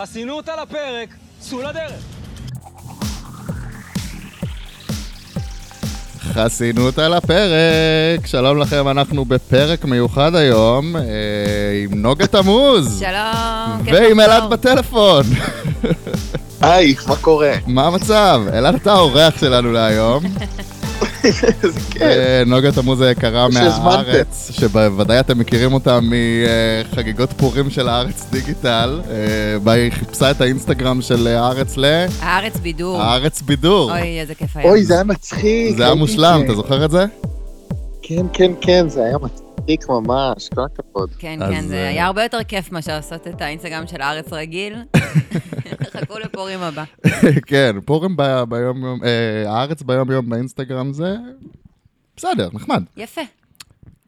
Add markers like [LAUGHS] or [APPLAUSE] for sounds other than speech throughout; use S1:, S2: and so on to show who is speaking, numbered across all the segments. S1: חסינות על הפרק, צאו לדרך.
S2: חסינות על הפרק! שלום לכם, אנחנו בפרק מיוחד היום אה, עם נוגה תמוז!
S3: שלום. כיף
S2: ועם
S3: לחזור.
S2: אלעד בטלפון! [LAUGHS]
S4: היי, מה קורה?
S2: מה המצב? אלעד, אתה האורח שלנו
S3: [LAUGHS]
S2: להיום.
S4: איזה כיף.
S2: אה, נוגה תמוז היקרה
S4: שהזמנתם.
S2: מהארץ, שבוודאי אתם מכירים אותה מחגיגות פורים של הארץ דיגיטל, אה, בה היא חיפשה את האינסטגרם של הארץ ל...
S3: הארץ בידור.
S2: הארץ בידור.
S3: אוי, איזה כיף היה.
S4: אוי, זה היה מצחיק.
S2: זה היה
S4: ראיתי את
S2: מושלם,
S4: זה.
S2: אתה זוכר את זה?
S4: כן, כן, כן, זה היה מצחיק ממש, כל הכבוד.
S3: כן,
S2: אז,
S3: כן,
S2: אה,
S3: זה היה הרבה יותר כיף מאשר לעשות את האינסטגרם של הארץ רגיל.
S2: [LAUGHS]
S3: חכו לפורים הבא.
S2: כן, פורים ב- ביום יום, אה, הארץ ביום יום באינסטגרם זה בסדר, נחמד.
S3: יפה,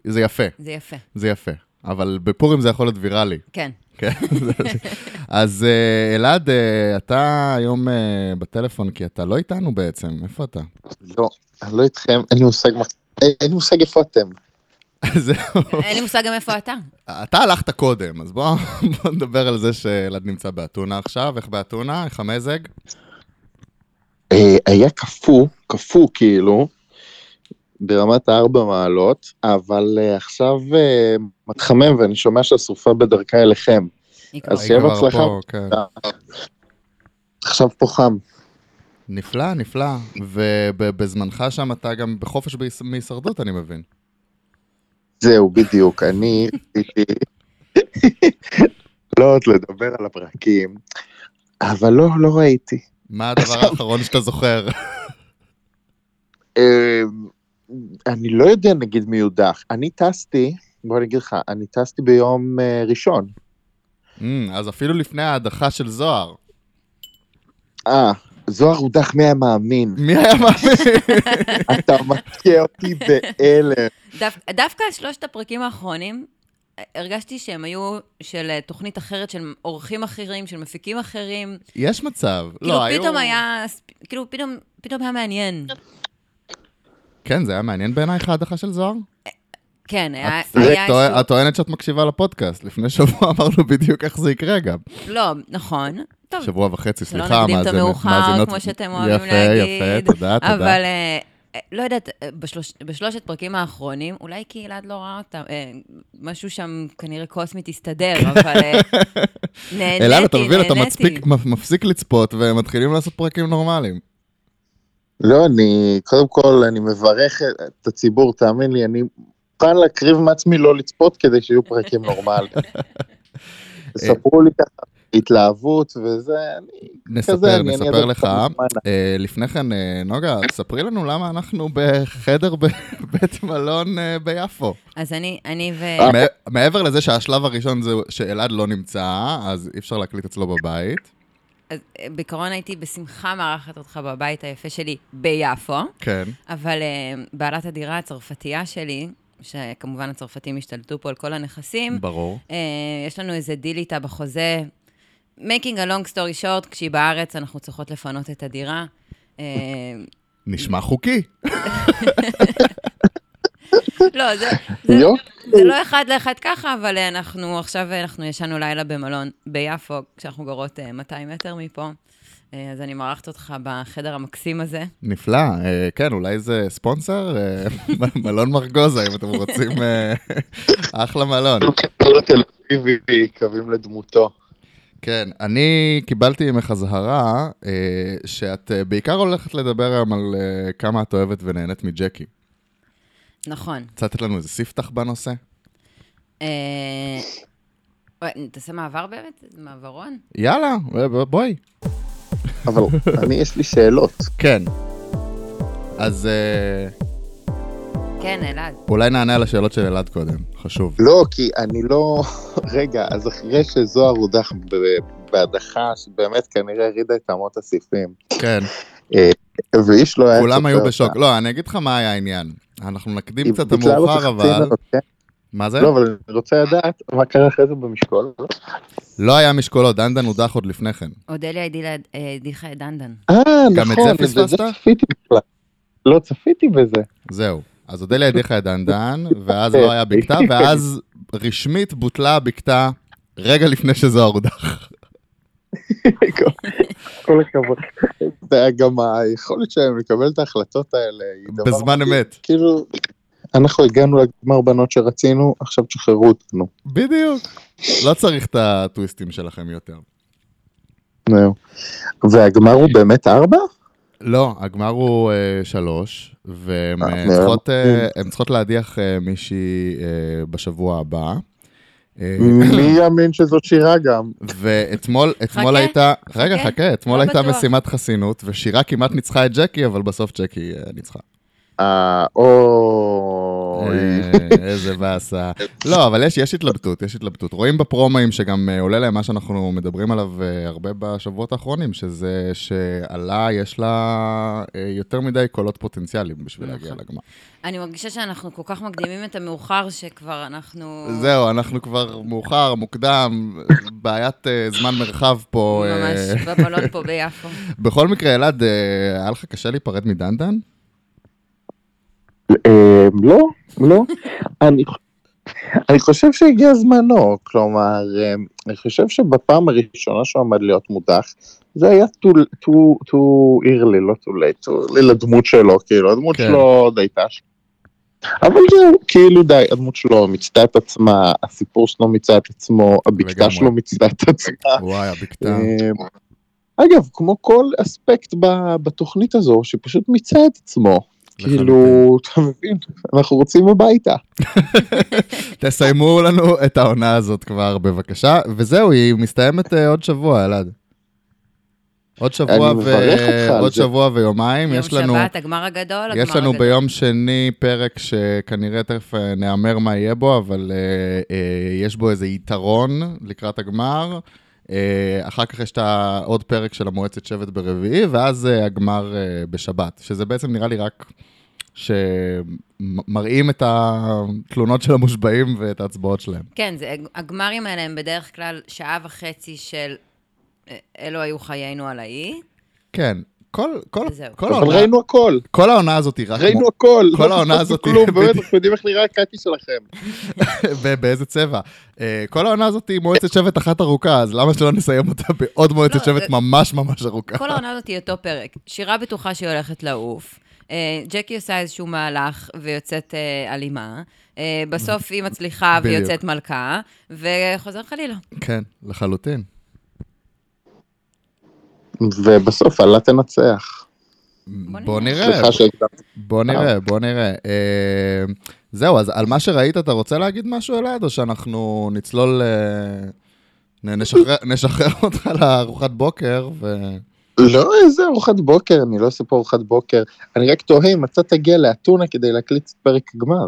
S2: זה יפה,
S3: זה יפה.
S2: זה יפה. אבל בפורים זה יכול להיות ויראלי.
S3: כן.
S2: כן. [LAUGHS] אז אה, אלעד, אה, אתה היום אה, בטלפון, כי אתה לא איתנו בעצם, איפה אתה? [LAUGHS]
S4: לא, אני לא איתכם, אין לי מושג מה... אין- אין לי מושג איפה אתם.
S2: זהו.
S3: אין לי מושג גם איפה אתה.
S2: אתה הלכת קודם, אז בוא [LAUGHS] בוא נדבר על זה שאלעד נמצא באתונה עכשיו. איך באתונה? איך המזג?
S4: אה, היה קפוא, קפוא כאילו, ברמת הארבע מעלות, אבל אה, עכשיו אה, מתחמם ואני שומע שהסופה בדרכה אליכם.
S3: היא
S4: אז
S3: כבר-
S4: שיהיה
S2: כבר
S4: בהצלחה.
S2: פה, כן.
S4: עכשיו פה חם.
S2: נפלא, נפלא. ובזמנך שם אתה גם בחופש בהיש- מהישרדות, אני מבין.
S4: זהו, בדיוק, אני [LAUGHS] רציתי לעלות לא לדבר על הברקים, אבל לא, לא ראיתי.
S2: מה הדבר האחרון שאתה זוכר?
S4: אה, אני לא יודע נגיד מי יודח, אני טסתי, בוא אני אגיד לך, אני טסתי ביום אה, ראשון.
S2: אמ, אז אפילו לפני ההדחה של זוהר.
S4: אה, זוהר הודח
S2: [LAUGHS]
S4: מהמאמין,
S2: מי היה מאמין?
S4: אתה מכה אותי בהלם.
S3: דו- דווקא שלושת הפרקים האחרונים, אה, הרגשתי שהם היו של אה, תוכנית אחרת, של אורחים אחרים, של מפיקים אחרים.
S2: יש מצב.
S3: כאילו
S2: לא, היו...
S3: פתאום היה, כאילו פתאום, פתאום היה מעניין.
S2: כן, זה היה מעניין בעינייך ההדחה של זוהר?
S3: כן, היה...
S2: את- זה
S3: היה
S2: טוע-
S3: איזשהו-
S2: את טוענת שאת מקשיבה לפודקאסט. לפני שבוע [LAUGHS] אמרנו בדיוק איך זה יקרה גם.
S3: לא, נכון. טוב,
S2: שבוע וחצי,
S3: שלא
S2: סליחה,
S3: נקדים את
S2: מאזינת-
S3: המאוחר,
S2: מאזינות-
S3: כמו שאתם אוהבים
S2: יפה,
S3: להגיד.
S2: יפה, תודה, תודה. [LAUGHS]
S3: אבל אה, אה, לא יודעת, אה, בשלוש, בשלושת פרקים האחרונים, אולי כי אלעד לא ראה אותם, אה, משהו שם כנראה
S2: [LAUGHS]
S3: קוסמית הסתדר, אבל אה, נהניתי,
S2: אלעד, אתה מבין, אתה
S3: נהניתי.
S2: מצפיק- מפ- מפסיק לצפות ומתחילים לעשות פרקים נורמליים.
S4: לא, אני, קודם כל, אני מברך את הציבור, תאמין לי, אני מוכן להקריב מעצמי לא לצפות כדי שיהיו פרקים
S2: [LAUGHS]
S4: נורמליים. ספרו לי ככה התלהבות וזה, אני כזה,
S2: נספר,
S4: אני- אני
S2: נספר
S4: אדם
S2: לך.
S4: מזמן.
S2: אה, לפני כן, אה, נוגה, ספרי לנו למה אנחנו בחדר [LAUGHS] בבית מלון אה, ביפו.
S3: אז אני, אני ו...
S2: מע- מעבר לזה שהשלב הראשון זה שאלעד לא נמצא, אז אי אפשר להקליט אצלו בבית.
S3: אז, אה, בעיקרון הייתי בשמחה מארחת אותך בבית היפה שלי ביפו,
S2: כן.
S3: אבל אה, בעלת הדירה הצרפתייה שלי, שכמובן הצרפתים השתלטו פה על כל הנכסים,
S2: ברור.
S3: אה, יש לנו איזה דיל איתה בחוזה. making a long story short, כשהיא בארץ, אנחנו צריכות לפנות את הדירה. אה,
S2: נשמע חוקי. [LAUGHS]
S3: לא, זה, זה,
S4: יופי,
S3: זה לא אחד לאחד ככה, אבל אה, אנחנו עכשיו, אה, אנחנו ישנו לילה במלון ביפו, כשאנחנו גרות אה, 200 מטר מפה. אה, אז אני מארחת אותך בחדר המקסים הזה.
S2: נפלא. אה, כן, אולי זה ספונסר? אה, [LAUGHS] מ- מלון מרגוזה, אם אתם רוצים. אה, [LAUGHS] אחלה מלון.
S4: כל תל אביבי קווים לדמותו.
S2: כן, אני קיבלתי ממך אזהרה אה, שאת אה, בעיקר הולכת לדבר היום על אה, כמה את אוהבת ונהנית מג'קי.
S3: נכון.
S2: רוצה לתת לנו איזה ספתח בנושא?
S3: אה, אוי, תעשה מעבר באמת? מעברון?
S2: יאללה, ב- ב- בואי.
S4: אבל אני, יש לי שאלות.
S2: כן. אז אה,
S3: כן, אלעד.
S2: אולי נענה על השאלות של אלעד קודם, חשוב.
S4: לא, כי אני לא... רגע, אז אחרי שזוהר הודח ב- בהדחה, שבאמת כנראה הרידה את אמות הסיפים, [LAUGHS]
S2: כן,
S4: ואיש לא היה...
S2: כולם
S4: צופה
S2: היו
S4: אותה.
S2: בשוק. לא, אני אגיד לך מה היה העניין. אנחנו נקדים
S4: היא
S2: קצת
S4: ביטלה לו את
S2: המאוחר,
S4: החצי
S2: אבל...
S4: מנות, כן?
S2: מה זה?
S4: לא, אבל אני רוצה לדעת מה קרה אחרי זה במשקול.
S2: לא היה משקולות, דנדן הודח עוד לפני כן.
S3: אודליה הדילה- אה, הדיחה את דנדן.
S4: אה,
S2: גם את
S4: נכון,
S2: זה
S4: בזה
S2: פספסת?
S4: צפיתי בכלל. לא צפיתי בזה.
S2: זהו. אז אודליה הדיחה את דנדן, ואז לא היה
S4: [LAUGHS]
S2: בקתה, ואז רשמית בוטלה הבקתה רגע לפני שזוהר הודח.
S4: כל- כל הכבוד. זה היה גם היכולת שלהם לקבל את ההחלטות האלה היא דבר...
S2: בזמן
S4: מדהים.
S2: אמת.
S4: כאילו, אנחנו הגענו לגמר בנות שרצינו, עכשיו תשחררו אותנו.
S2: בדיוק. לא צריך את הטוויסטים שלכם יותר.
S4: זהו. והגמר הוא באמת ארבע?
S2: לא, הגמר הוא אה, שלוש, והן
S4: אה,
S2: אה,
S4: מהר.
S2: צריכות, אה,
S4: אה.
S2: הן צריכות להדיח אה, מישהי אה, בשבוע הבא. אה,
S4: מי יאמין שזאת שירה גם?
S2: ואתמול אתמול
S3: חכה,
S2: הייתה, רגע
S3: חכה,
S2: חכה, אתמול
S3: לא
S2: הייתה
S3: בטוח.
S2: משימת חסינות, ושירה כמעט ניצחה את ג'קי, אבל בסוף ג'קי אה, ניצחה.
S4: אה, אוי.
S2: אה, איזה באסה. לא, אבל יש, יש התלבטות, יש התלבטות. רואים בפרומואים שגם אה, עולה להם מה שאנחנו מדברים עליו אה, הרבה בשבועות האחרונים, שזה שעלה, יש לה אה, יותר מדי קולות פוטנציאליים בשביל להגיע
S3: נכון.
S2: לגמר.
S3: אני מרגישה שאנחנו כל כך מקדימים את המאוחר, שכבר אנחנו...
S2: זהו, אנחנו כבר מאוחר, מוקדם, בעיית אה, זמן מרחב פה. אה,
S3: ממש בבלון פה
S2: [LAUGHS]
S3: ביפו.
S2: בכל מקרה, אלעד, אה, היה לך קשה להיפרד מדנדן?
S4: אה, לא, לא. אני ח- אני חושב שהגיע זמנו, כלומר, אה, אני חושב שבפעם הראשונה שהוא עמד להיות מודח, זה היה too- too- too early, לא too late, too early לדמות שלו, כאילו, הדמות
S2: כן.
S4: שלו עוד הייתה שם. אבל זהו, כאילו די, הדמות שלו מיצתה את עצמה, הסיפור שלו מיצה את עצמו, הבקתה
S2: לגמרי. כן.
S4: שלו מיצתה
S2: [LAUGHS]
S4: את עצמה.
S2: וואי, הבקתה.
S4: אה, אגב, כמו כל אספקט ב- בתוכנית הזו, שפשוט מיצה את עצמו.
S2: לחלוטין.
S4: כאילו, אתה מבין, אנחנו רוצים הביתה.
S2: תסיימו לנו את העונה הזאת כבר, בבקשה. וזהו, היא מסתיימת אה, עוד שבוע, אלעד. עוד שבוע, ו...
S4: אני מברך אותך על
S2: עוד
S4: זה.
S2: שבוע ויומיים.
S3: יום
S2: יש לנו,
S3: שבת, הגמר הגדול, הגמר
S2: יש לנו
S3: הגדול.
S2: ביום שני פרק שכנראה תכף אה, נאמר מה יהיה בו, אבל אה, אה, יש בו איזה יתרון לקראת הגמר. אה, אחר כך יש את העוד פרק של המועצת שבט ברביעי, ואז אה, הגמר אה, בשבת, שזה בעצם נראה לי רק שמראים את התלונות של המושבעים ואת ההצבעות שלהם.
S3: כן, זה, הגמרים האלה הם בדרך כלל שעה וחצי של אה, אלו היו חיינו על
S2: [LAUGHS]
S3: האי.
S2: כן, כל, כל,
S3: זהו.
S2: כל,
S4: אבל
S2: העונה,
S4: ראינו הכל,
S2: כל העונה הזאת היא רק
S4: ראינו הכל.
S2: כל
S4: לא
S2: העונה
S4: פספסנו
S2: הזאת-
S4: כלום, באמת, אנחנו יודעים איך נראה הקקי שלכם.
S2: ב- באיזה צבע. אה, כל העונה הזאת היא מועצת שבט אחת ארוכה, אז למה שלא נסיים אותה בעוד
S3: לא,
S2: מועצת שבט
S3: זה-
S2: ממש ממש ארוכה?
S3: כל העונה הזאת היא אותו פרק. שירה בטוחה שהיא הולכת לעוף. אה, ג'קי עושה איזשהו מהלך ויוצאת אה, אלימה. אה, בסוף היא מצליחה
S2: בדיוק.
S3: ויוצאת מלכה, וחוזר חלילה.
S2: כן, לחלוטין.
S4: ובסוף עלה תנצח.
S2: בוא נראה,
S4: סליחה שהקדמתי.
S2: בוא נראה, בוא נראה. אה, זהו, אז על מה שראית אתה רוצה להגיד משהו אלעד, או שאנחנו נצלול... אה, נ-
S3: [LAUGHS]
S2: נשחרר- נשחרר אותך לארוחת בוקר, ו...
S4: לא, איזה ארוחת בוקר, אני לא עושה פה ארוחת בוקר. אני רק תוהה אם אתה תגיע לאתונה כדי להקליט את פרק הגמר.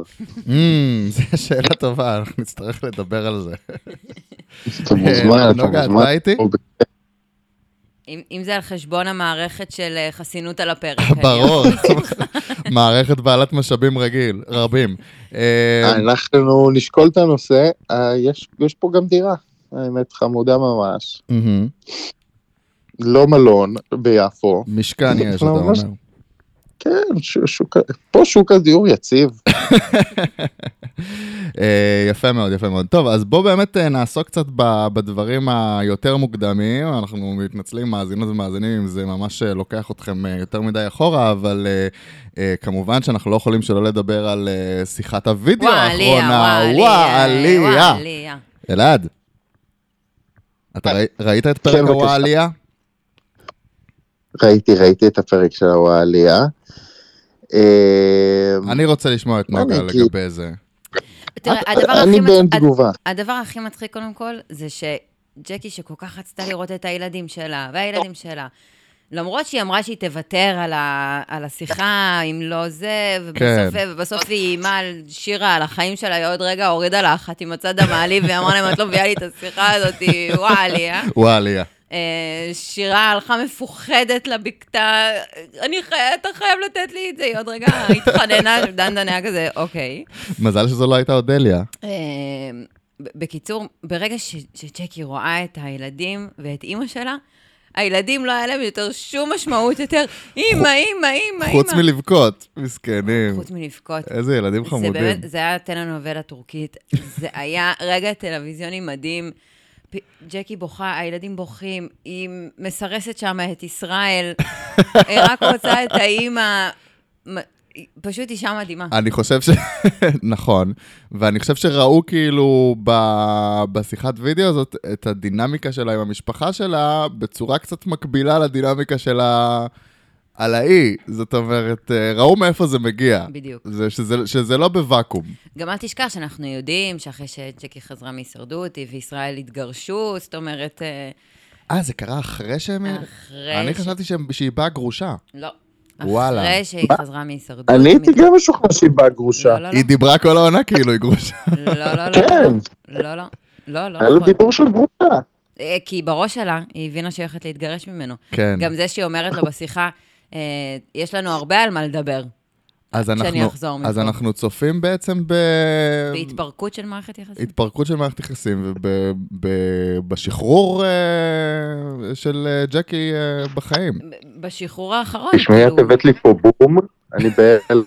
S2: אמ, [LAUGHS] זו שאלה טובה, אנחנו נצטרך לדבר על זה. אה,
S4: אתה מוזמן, אתה
S2: נוגה, את
S4: מוזמן.
S2: באה איתי?
S3: אם, אם זה על חשבון המערכת של אה, חסינות על הפרק. [LAUGHS]
S2: ברור, מערכת בעלת משאבים רגיל, רבים. אה,
S4: לא. אנחנו נשקול את הנושא, אה, יש- יש פה גם דירה, האמת חמודה ממש.
S2: מהמם.
S4: לא מלון ביפו,
S2: משכן יש, אתה אומר.
S4: לא, ממש. כן, ש- שוק, פה שוק הדיור יציב.
S2: אה, יפה מאוד, יפה מאוד. טוב, אז בואו באמת אה, נעסוק קצת ב- בדברים היותר מוקדמים. אנחנו מתנצלים, מאזינות ומאזינים, אם זה ממש אה, לוקח אתכם אה, יותר מדי אחורה, אבל אה, אה, כמובן שאנחנו לא יכולים שלא לדבר על אה, שיחת הוידאו האחרונה.
S3: וואה,
S2: וואליה.
S3: עלייה.
S2: אלעד, אתה ראי- ראית את פרק
S4: כן, בבקשה.
S2: הוואליה?
S4: ראיתי, ראיתי את הפרק של הוואליה. אה,
S2: אני רוצה לשמוע את
S4: מה
S2: נוגה
S4: אני אגיד?
S2: לגבי זה.
S3: תראה,
S4: את-
S3: הדבר
S4: אני
S3: הכי
S4: באין
S3: מצ- לא, הד-
S4: תגובה.
S3: הדבר הכי מצחיק קודם כל, זה שג'קי שכל כך רצתה לראות את הילדים שלה, והילדים שלה, למרות שהיא אמרה שהיא תוותר על, ה, על השיחה, אם לא זה, ובסוף,
S2: כן.
S3: ובסוף היא איימה על שירה, על החיים שלה, היא עוד רגע הורידה לה אחת עם הצד המעליב, והיא אמרה להם, את לא מביאה לי את השיחה הזאת, וואליה.
S2: וואליה.
S3: אה, שירה הלכה מפוחדת לבקתה, אני חי... אתה חייב לתת לי את זה, היא עוד רגע התחננה, דנדן היה כזה, אוקיי.
S2: מזל שזו לא הייתה אודליה.
S3: אה, ב- בקיצור, ברגע ש- שג'קי רואה את הילדים ואת אימא שלה, הילדים לא היה להם יותר שום משמעות יותר, אימא, אימא, אימא, אימא.
S2: חוץ מלבכות, מסכנים.
S3: חוץ מלבכות.
S2: איזה ילדים
S3: זה
S2: חמודים.
S3: באמת, זה היה טלנובלה טורקית, זה היה רגע טלוויזיוני מדהים. פ- ג'קי בוכה, הילדים בוכים, היא מסרסת שם
S2: [LAUGHS]
S3: את ישראל, היא רק רוצה את האימא, מ- היא- פשוט אישה מדהימה.
S2: אני חושב ש... [LAUGHS] נכון, ואני חושב שראו כאילו ב... בשיחת וידאו הזאת את הדינמיקה שלה עם המשפחה שלה בצורה קצת מקבילה לדינמיקה שלה על האי. זאת אומרת, אה, ראו מאיפה זה מגיע.
S3: בדיוק.
S2: זה, שזה, שזה לא בוואקום.
S3: גם אל תשכח שאנחנו יודעים שאחרי שג'קי חזרה מהישרדות, היא וישראל התגרשו, זאת אומרת, אה,
S2: אה, זה קרה אחרי שהם...
S3: אחרי...
S2: אני
S3: ש-
S2: חשבתי שהם- שהיא באה גרושה.
S3: לא.
S2: וואלה.
S3: אחרי שהיא
S4: מה?
S3: חזרה מהישרדות.
S4: אני הייתי
S3: מת-
S4: גם משוכנע שהיא באה גרושה.
S3: לא, לא,
S2: היא דיברה כל העונה כאילו, היא גרושה. [LAUGHS]
S3: לא, לא, לא, לא,
S4: כן,
S3: לא, לא, לא, לא,
S4: היה לו
S3: נכון.
S4: דיבור של גרושה.
S3: אה, כי בראש שלה, היא הבינה שהיא הולכת להתגרש ממנו.
S2: כן.
S3: גם זה שהיא אומרת לו בשיחה, אה, יש לנו הרבה על מה לדבר.
S2: כן. אז
S3: כשאני
S2: אנחנו-
S3: אחזור
S2: אז
S3: מפה.
S2: אנחנו צופים בעצם ב...
S3: בהתפרקות של מערכת יחסים.
S2: התפרקות של מערכת יחסים ובשחרור של אה, ג'קי אה, בחיים.
S3: ב- בשחרור האחרון,
S4: תשמעי, את
S3: כאילו,
S4: הבאת לי פה בום, אני [LAUGHS] בהלם.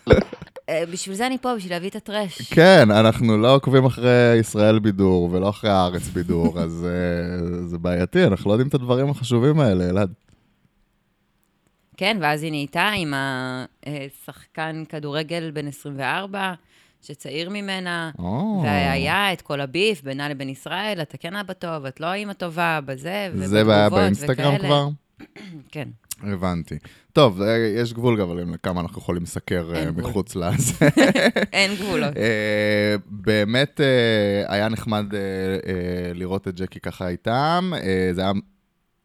S3: אה, בשביל זה אני פה, בשביל להביא את הטרש.
S2: כן, אנחנו לא עוקבים אחרי ישראל בידור ולא אחרי הארץ
S3: [LAUGHS]
S2: בידור, אז אה, זה בעייתי, אנחנו לא יודעים את הדברים החשובים האלה, אלעד.
S3: כן, ואז היא נהייתה עם השחקן כדורגל בן 24, שצעיר ממנה,
S2: או. אה,
S3: והיה את כל הביף בינה לבין ישראל, את כן אבא טוב, את לא אימא טובה, בזה,
S2: זה בעיה
S3: ובתגובות
S2: באינסטגרם
S3: וכאלה.
S2: כבר?
S3: כן.
S2: הבנתי. טוב, אה, יש גבול גם אבל לכמה אנחנו יכולים לסקר אה,
S3: אין גבול.
S2: מחוץ לזה.
S3: אין
S2: [LAUGHS]
S3: גבולות.
S2: אה, באמת אה, היה נחמד אה, אה, לראות את ג'קי ככה איתם. אה, זה היה,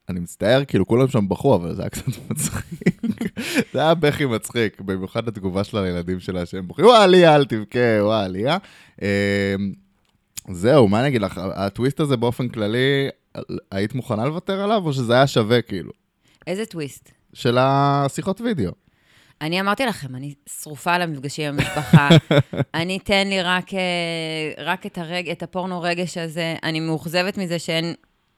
S2: אני מצטער, כאילו כולם שם בכו, אבל זה היה קצת [LAUGHS] מצחיק. זה היה בכי מצחיק, במיוחד התגובה שלה לילדים שלה שהם בוכים, וואה עלייה, אל תבכה, וואה עלייה. אה, זהו, מה אני אגיד לך, הטוויסט הזה באופן כללי, היית מוכנה לוותר עליו, או שזה היה שווה, כאילו?
S3: איזה טוויסט.
S2: של השיחות וידאו.
S3: אני אמרתי לכם, אני שרופה על המפגשים
S2: [LAUGHS]
S3: עם המשפחה. אני, תן לי רק, אה, רק את, הרג, את הפורנו רגש הזה. אני מאוכזבת מזה שאין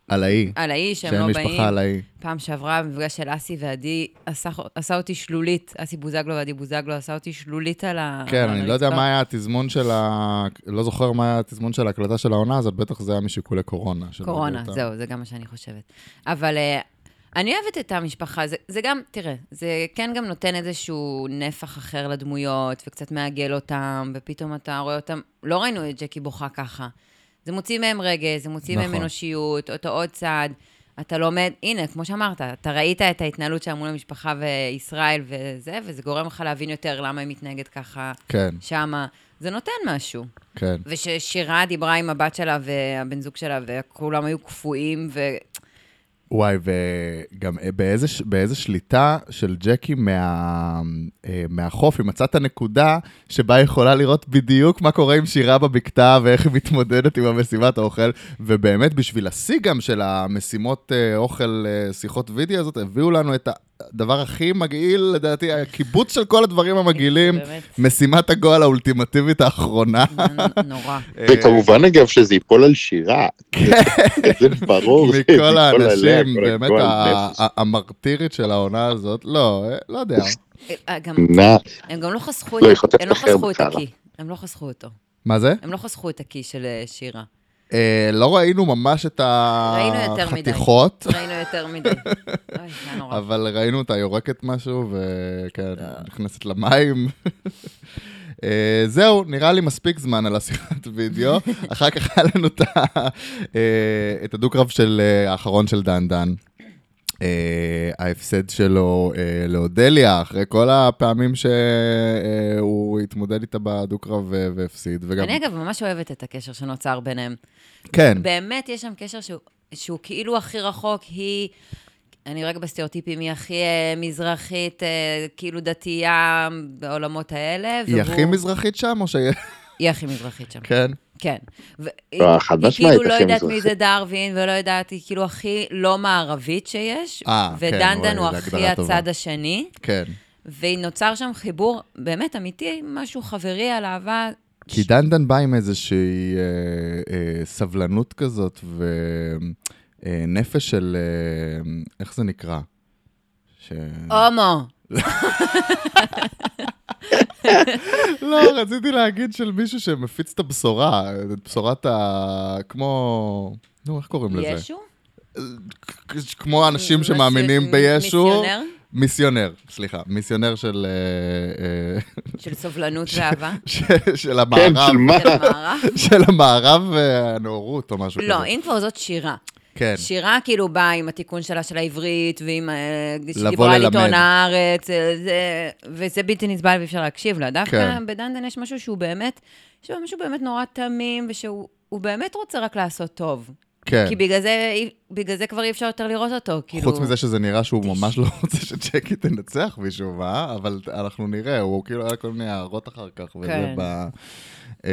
S2: על האי.
S3: על האיש, שהם
S2: שהם
S3: לא באים.
S2: משפחה על האי.
S3: פעם שעברה, במפגש של אסי ועדי, עשה, עשה אותי שלולית, אסי בוזגלו ועדי בוזגלו, עשה אותי שלולית על ה...
S2: כן,
S3: על
S2: אני לא יודע
S3: הרצפה.
S2: מה היה התזמון של ה... לא זוכר מה היה התזמון של ההקלטה של העונה הזאת, בטח זה היה משיקולי קורונה. שלא הביאו
S3: קורונה,
S2: אותה.
S3: זהו, זה גם מה שאני חושבת. אבל אה, אני אוהבת את המשפחה, זה, זה גם, תראה, זה כן גם נותן איזשהו נפח אחר לדמויות, וקצת מעגל אותם, ופתאום אתה רואה אותם, לא ראינו את ג'קי בוכה ככה. זה מוציא מהם רגש, זה מוציא נכון. מהם
S2: נכון.
S3: אנושיות, אותו עוד צד. אתה לומד, הנה, כמו שאמרת, אתה ראית את ההתנהלות שלה מול המשפחה וישראל וזה, וזה גורם לך להבין יותר למה היא מתנהגת ככה
S2: כן,
S3: שמה. זה נותן משהו.
S2: כן.
S3: וששירה דיברה עם הבת שלה והבן זוג שלה, וכולם היו קפואים, ו...
S2: וואי, וגם באיזה, ש- באיזה שליטה של ג'קי מה, אה, מהחוף, היא מצאה את הנקודה שבה היא יכולה לראות בדיוק מה קורה עם שירה בבקתה ואיך היא מתמודדת עם המשימת האוכל, ובאמת בשביל השיא גם של המשימות אה, אוכל, אה, שיחות וידאו הזאת, הביאו לנו את הדבר הכי מגעיל, לדעתי, הקיבוץ של כל הדברים המגעילים,
S3: באמת.
S2: משימת הגועל האולטימטיבית האחרונה. אה,
S3: נ- נורא.
S4: וכמובן, אגב, שזה ייפול על שירה. [LAUGHS] זה [LAUGHS] ברור. זה ייפול
S2: מכל
S4: עליה,
S2: האנשים,
S4: כל
S2: באמת
S4: הגועל
S2: ה-
S4: נפש.
S2: ה- המרטירית של העונה הזאת, לא, אה, לא יודע.
S3: אה, גם-
S4: נא,
S3: הם גם לא חסכו
S4: לא,
S3: את-
S4: היא חוטפת
S3: הם לא
S4: אחר
S3: חסכו את
S4: בקרה.
S3: הקי. הם לא חסכו אותו.
S2: מה זה?
S3: הם לא חסכו את הקי של אה,
S2: [LAUGHS]
S3: שירה.
S2: אה, לא ראינו ממש את
S3: ראינו יותר מדי.
S2: החתיכות,
S3: ראינו יותר מדי. אוי, זה היה נורא.
S2: אבל ראינו אותה יורקת משהו, וכן, נכנסת למים. [LAUGHS] אה, זהו, נראה לי מספיק זמן על השיחת וידאו. אחר כך היה לנו את ה- אה, את הדו-קרב של אה, האחרון של דן דן. אה, ההפסד שלו אה, לאודליה, אחרי כל הפעמים שהוא התמודד איתה בדו-קרב אה, והפסיד, וגם...
S3: אני אגב ממש אוהבת את הקשר שנוצר ביניהם.
S2: כן,
S3: באמת יש שם קשר שהוא, שהוא כאילו הכי רחוק, היא... אני רגע בסטריאוטיפים, היא הכי אה, מזרחית, אה, כאילו דתייה בעולמות האלה.
S2: היא
S3: והוא-
S2: הכי מזרחית שם, או ש... [LAUGHS]
S3: היא הכי מזרחית שם.
S2: כן.
S3: כן. ו-
S4: לא, חד
S3: היא
S4: משמעית,
S3: כאילו לא
S4: הכי
S3: יודעת מי
S4: מזרחית.
S3: זה דרווין, ולא יודעת, היא כאילו הכי לא מערבית שיש.
S2: אה, כן, וואי,
S3: ודנדן הוא
S2: זו
S3: הכי
S2: הגדרה טובה.
S3: הצד השני,
S2: כן.
S3: ונוצר שם חיבור באמת אמיתי, משהו חברי על אהבה.
S2: כי דנדן בא עם איזושהי אה, אה, סבלנות כזאת ונפש של, אה, איך זה נקרא? ש...
S3: הומו.
S2: לא, רציתי להגיד של מישהו שמפיץ את הבשורה, את בשורת ה... כמו... נו, איך קוראים לזה?
S3: ישו? כאילו
S2: כמו אנשים
S3: משהו-
S2: שמאמינים בישו.
S3: מיסיונר?
S2: מיסיונר, סליחה. מיסיונר של... אה, אה, [LAUGHS]
S3: של סובלנות ואהבה?
S2: של- של
S4: כן,
S2: המערב.
S4: של מה?
S3: של
S2: [LAUGHS]
S3: המערב?
S2: של המערב והנאורות או משהו כזה.
S3: לא, אם כבר זאת שירה.
S2: כן.
S3: שירה כאילו באה עם התיקון שלה של העברית, ועם... אה,
S2: לבוא
S3: שדיברה על
S2: ללמד.
S3: עיתון הארץ, אה, זה- וזה בלתי נסבל ואי אפשר להקשיב לה. דווקא
S2: כן.
S3: בדנדן יש משהו שהוא באמת, יש בו משהו באמת נורא תמים, ושהוא הוא באמת רוצה רק לעשות טוב.
S2: כן.
S3: כי בגלל זה, אי- בגלל זה כבר אי אפשר יותר לראות אותו, כאילו...
S2: חוץ מזה שזה נראה שהוא ממש לא רוצה שצ'קי תנצח מישהו, מה? אבל אנחנו נראה, הוא כאילו היה כל מיני הערות אחר כך, וזה
S3: כן.
S2: ב... אה,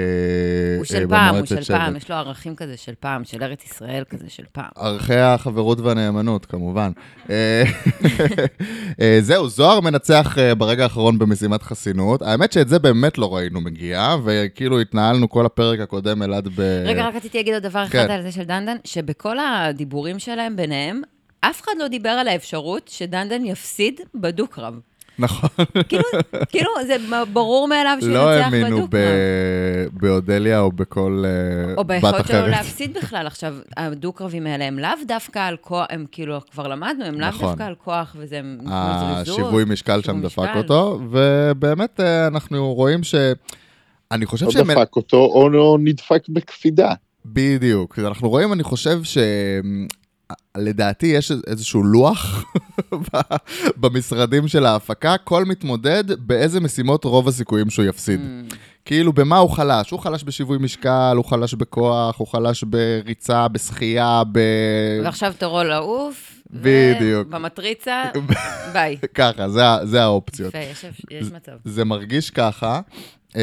S3: הוא
S2: אה,
S3: של פעם, הוא
S2: במועצת
S3: של
S2: שבט.
S3: פעם, יש לו ערכים כזה של פעם, של ארץ ישראל כזה של פעם.
S2: ערכי החברות והנאמנות, כמובן. אה, אה, זהו, זוהר מנצח אה, ברגע האחרון במשימת חסינות. האמת שאת זה באמת לא ראינו מגיע, וכאילו התנהלנו כל הפרק הקודם אלעד ב...
S3: רגע, רק רציתי להגיד עוד דבר אחד
S2: כן.
S3: על זה של דנדן, שבכל הדיבורים שלהם ביניהם, אף אחד לא דיבר על האפשרות שדנדן יפסיד בדו-קרב.
S2: נכון.
S3: כאילו, כאילו, זה ברור מאליו שהוא
S2: לא
S3: ינצח
S2: האמינו
S3: בדו-קרב.
S2: ב- באודליה או בכל אה,
S3: או
S2: בת
S3: ביכולת שלו
S2: אחרת.
S3: להפסיד בכלל. עכשיו, הדו-קרבים האלה הם לאו דווקא על כוח, הם כאילו, כבר למדנו, הם לאו
S2: נכון. אה,
S3: דווקא על כוח וזה הם כמו זריזות.
S2: השיווי משקל שם
S3: לא שיווי
S2: דפק
S3: משקל.
S2: אותו, ובאמת אה, אנחנו רואים ש... אני חושב
S4: לא
S2: שהם...
S4: דפק אותו, או לא נדפק בקפידה.
S2: בדיוק. אנחנו רואים, אני חושב ש... לדעתי יש איזשהו לוח [LAUGHS] ב- במשרדים של ההפקה, כל מתמודד באיזה משימות רוב הסיכויים שהוא יפסיד.
S3: Mm.
S2: כאילו, במה הוא חלש? הוא חלש בשיווי משקל, הוא חלש בכוח, הוא חלש בריצה, בשחייה, ב...
S3: ועכשיו תורו לעוף. ו-
S2: בדיוק. [LAUGHS]
S3: במטריצה, ביי.
S2: ככה, זה, ה- זה האופציות.
S3: יפה, יש יש מצב.
S2: זה מרגיש ככה. אמ,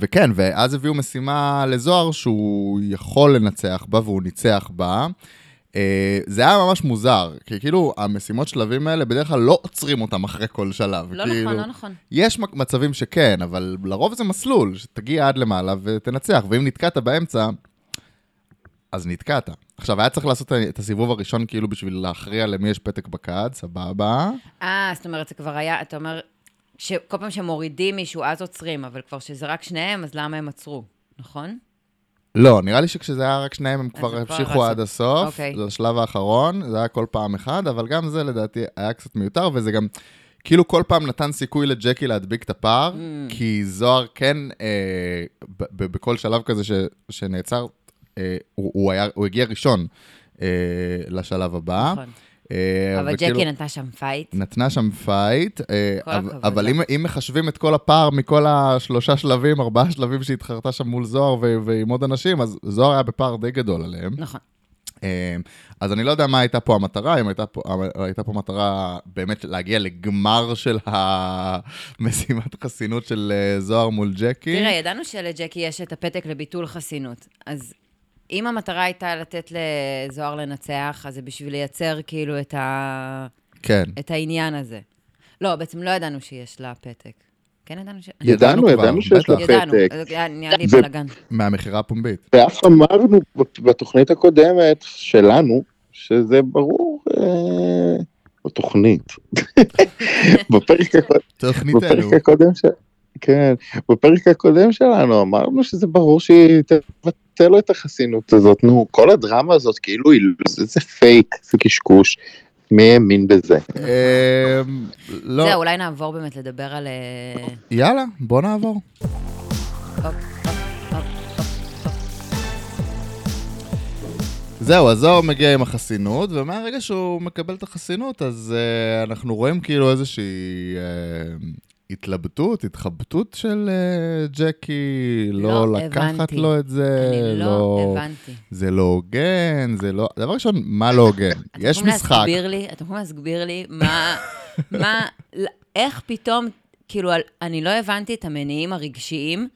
S2: וכן, ואז הביאו משימה לזוהר שהוא יכול לנצח בה, והוא ניצח בה. אה, זה היה ממש מוזר, כי כאילו, המשימות שלבים האלה, בדרך כלל לא עוצרים אותם אחרי כל שלב.
S3: לא
S2: כאילו,
S3: נכון, לא נכון.
S2: יש מק- מצבים שכן, אבל לרוב זה מסלול, שתגיע עד למעלה ותנצח, ואם נתקעת באמצע, אז נתקעת. עכשיו, היה צריך לעשות את הסיבוב הראשון כאילו בשביל להכריע למי יש פתק בכד, סבבה.
S3: אה, זאת אומרת, זה כבר היה, אתה אומר, שכל פעם שמורידים מישהו, אז עוצרים, אבל כבר שזה רק שניהם, אז למה הם עצרו, נכון?
S2: לא, נראה לי שכשזה היה רק שניהם, הם כבר
S3: כבר
S2: המשיכו
S3: רצו.
S2: עד הסוף.
S3: אוקיי.
S2: זה השלב האחרון, זה היה כל פעם אחד, אבל גם זה לדעתי היה קצת מיותר, וזה גם כאילו כל פעם נתן סיכוי לג'קי להדביק את הפער,
S3: Mm.
S2: כי זוהר כן, אה, ב- ב- בכל שלב כזה ש- שנעצר, אה, הוא הוא היה- הוא הגיע ראשון אה, לשלב הבא.
S3: נכון.
S2: אה,
S3: אבל
S2: וכאילו-
S3: ג'קי נתנה שם פייט.
S2: נתנה שם פייט, אה,
S3: כל
S2: אבל-
S3: הכבוד
S2: אבל
S3: לה.
S2: אם, אם מחשבים את כל הפער מכל השלושה שלבים, ארבעה שלבים שהתחרתה שם מול זוהר ו- ועם עוד אנשים, אז זוהר היה בפער די גדול עליהם.
S3: נכון.
S2: אה, אז אני לא יודע מה הייתה פה המטרה, אם הייתה פה, אה, הייתה פה מטרה באמת להגיע לגמר של המשימת חסינות של אה, זוהר מול ג'קי.
S3: תראה, ידענו שלג'קי יש את הפתק לביטול חסינות. אז אם המטרה הייתה לתת לזוהר לנצח, אז זה בשביל לייצר כאילו את, ה...
S2: כן.
S3: את העניין הזה. לא, בעצם לא ידענו שיש לה פתק. כן ידענו ש...
S2: ידענו
S4: ידענו,
S2: כבר,
S4: ידענו שיש
S2: בטח.
S4: לה
S3: ידענו,
S4: פתק.
S3: אז היה- נהיה לי
S4: ו-
S3: בלאגן.
S2: מהמכירה הפומבית.
S4: ואף אמרנו בתוכנית הקודמת שלנו, שזה ברור, אה, בתוכנית. בפרק הקודם.
S2: תוכניתנו.
S4: בפרק הקודם ש... כן, בפרק הקודם שלנו אמרנו שזה ברור שהיא תבטל לו את החסינות הזאת, נו, כל הדרמה הזאת כאילו היא- זה, זה פייק, זה קשקוש, מי האמין בזה?
S2: אה, לא,
S3: זהו, אולי נעבור באמת לדבר על... אה, אוקיי.
S2: יאללה, בוא נעבור.
S3: הופ, הופ, הופ, הופ, הופ.
S2: זהו, אז זוהר מגיע עם החסינות, ומהרגע שהוא מקבל את החסינות, אז uh, אנחנו רואים כאילו איזושהי uh, התלבטות, התחבטות של uh, ג'קי, לא,
S3: לא
S2: לקחת
S3: הבנתי.
S2: לו את זה,
S3: אני לא הבנתי.
S2: זה לא הוגן, זה לא... דבר ראשון, מה לא הוגן? יש
S3: [LAUGHS] אתם יכולים
S2: משחק.
S3: להסביר לי, אתם יכולים להסביר לי
S2: [LAUGHS]
S3: מה, מה, איך פתאום, כאילו, על- אני לא הבנתי את המניעים הרגשיים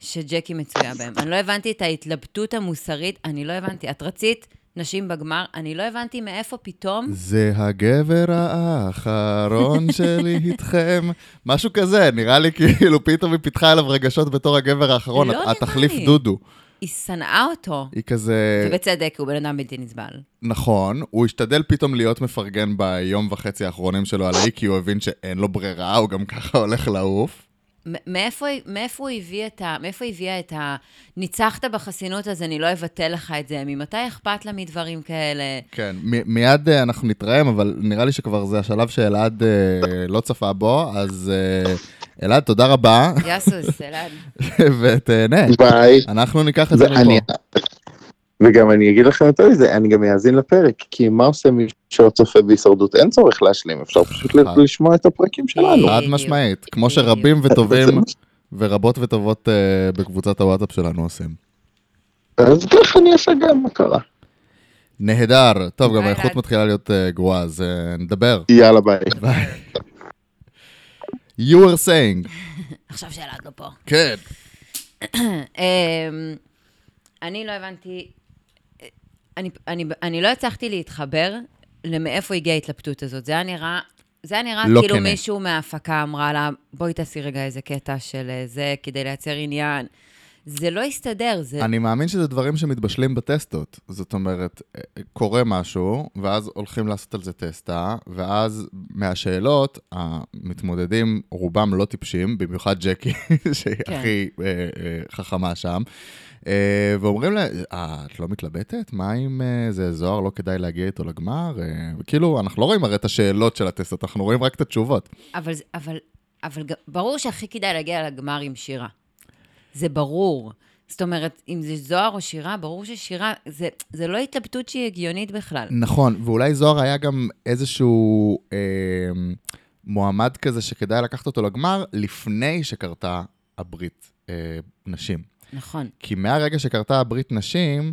S3: שג'קי מצויה בהם. אני לא הבנתי את ההתלבטות המוסרית, אני לא הבנתי. את רצית נשים בגמר, אני לא הבנתי מאיפה פתאום.
S2: זה הגבר
S3: [LAUGHS]
S2: האחרון שלי איתכם. משהו כזה, נראה לי כאילו פתאום היא פיתחה אליו רגשות בתור הגבר האחרון,
S3: לא נראה
S2: התחליף
S3: לי.
S2: דודו.
S3: היא שנאה אותו.
S2: היא כזה,
S3: ובצדק, הוא בן אדם בלתי נסבל.
S2: נכון, הוא השתדל פתאום להיות מפרגן ביום וחצי האחרונים שלו על האי, כי הוא הבין שאין לו ברירה, הוא גם ככה [LAUGHS] הולך לעוף.
S3: מ- מאיפה, היא- מאיפה, הוא הביא את ה, מאיפה היא הביאה את ה... ניצחת בחסינות, אז אני לא אבטל לך את זה. ממתי אכפת לה מדברים
S2: [LAUGHS]
S3: כאלה?
S2: כן, מ- מיד אה, אנחנו נתרעם, אבל נראה לי שכבר זה השלב שאלעד [LAUGHS] אה, לא צפה בו, אז אה, אלעד, תודה רבה, [LAUGHS]
S3: יאסוס, אלעד.
S2: ותהנה.
S4: ביי.
S2: אנחנו ניקח את זה
S4: ואני-
S2: מפה.
S4: וגם אני אגיד לכם יותר מזה, אני גם אאזין לפרק, כי מה עושה מי שלא צופה בהישרדות? אין צורך להשלים, אפשר פשוט
S2: אה.
S4: ל- לשמוע את הפרקים שלנו.
S2: חד
S3: בדיוק,
S2: משמעית, כמו
S3: בדיוק.
S2: שרבים אה, [LAUGHS] וטובים ורבות וטובות אה, בקבוצת הוואטאפ שלנו עושים.
S4: אז ככה אני אעשה גם, מה קרה?
S2: נהדר, טוב, גם
S3: ביי,
S2: האיכות
S3: אלעד.
S2: מתחילה להיות אה, גרועה, אז אה, נדבר.
S4: יאללה ביי.
S2: You were saying.
S3: עכשיו שאלעד לא פה.
S2: כן.
S3: אמ, אני לא הבנתי, אני, אני, אני לא הצלחתי להתחבר למאיפה הגיעה ההתלבטות הזאת. זה היה נראה, זה היה נראה
S2: לא
S3: כאילו
S2: כנה.
S3: מישהו מההפקה אמרה לה, בואי תעשי רגע איזה קטע של אה, זה כדי לייצר עניין. זה לא הסתדר, זה...
S2: אני מאמין שזה דברים שמתבשלים בטסטות. זאת אומרת, אה, קורה משהו, ואז הולכים לעשות על זה טסטה, ואז מהשאלות, המתמודדים, רובם לא טיפשים, במיוחד ג'קי, [LAUGHS] שהיא
S3: כן.
S2: הכי אה, אה, חכמה שם. אה, ואומרים לה, אה, את לא מתלבטת? מה אם אה, זה זוהר, לא כדאי להגיע איתו לגמר? אה, כאילו, אנחנו לא רואים הרי את השאלות של הטסטות, אנחנו רואים רק את התשובות.
S3: אבל, זה- אבל, אבל ג- ברור שהכי כדאי להגיע לגמר עם שירה. זה ברור. זאת אומרת, אם זה זוהר או שירה, ברור ששירה, זה, זה לא התלבטות שהיא הגיונית בכלל.
S2: נכון, ואולי זוהר היה גם איזשהו אה, מועמד כזה שכדאי לקחת אותו לגמר לפני שקרתה הברית אה, נשים.
S3: נכון.
S2: כי מהרגע שקרתה הברית נשים,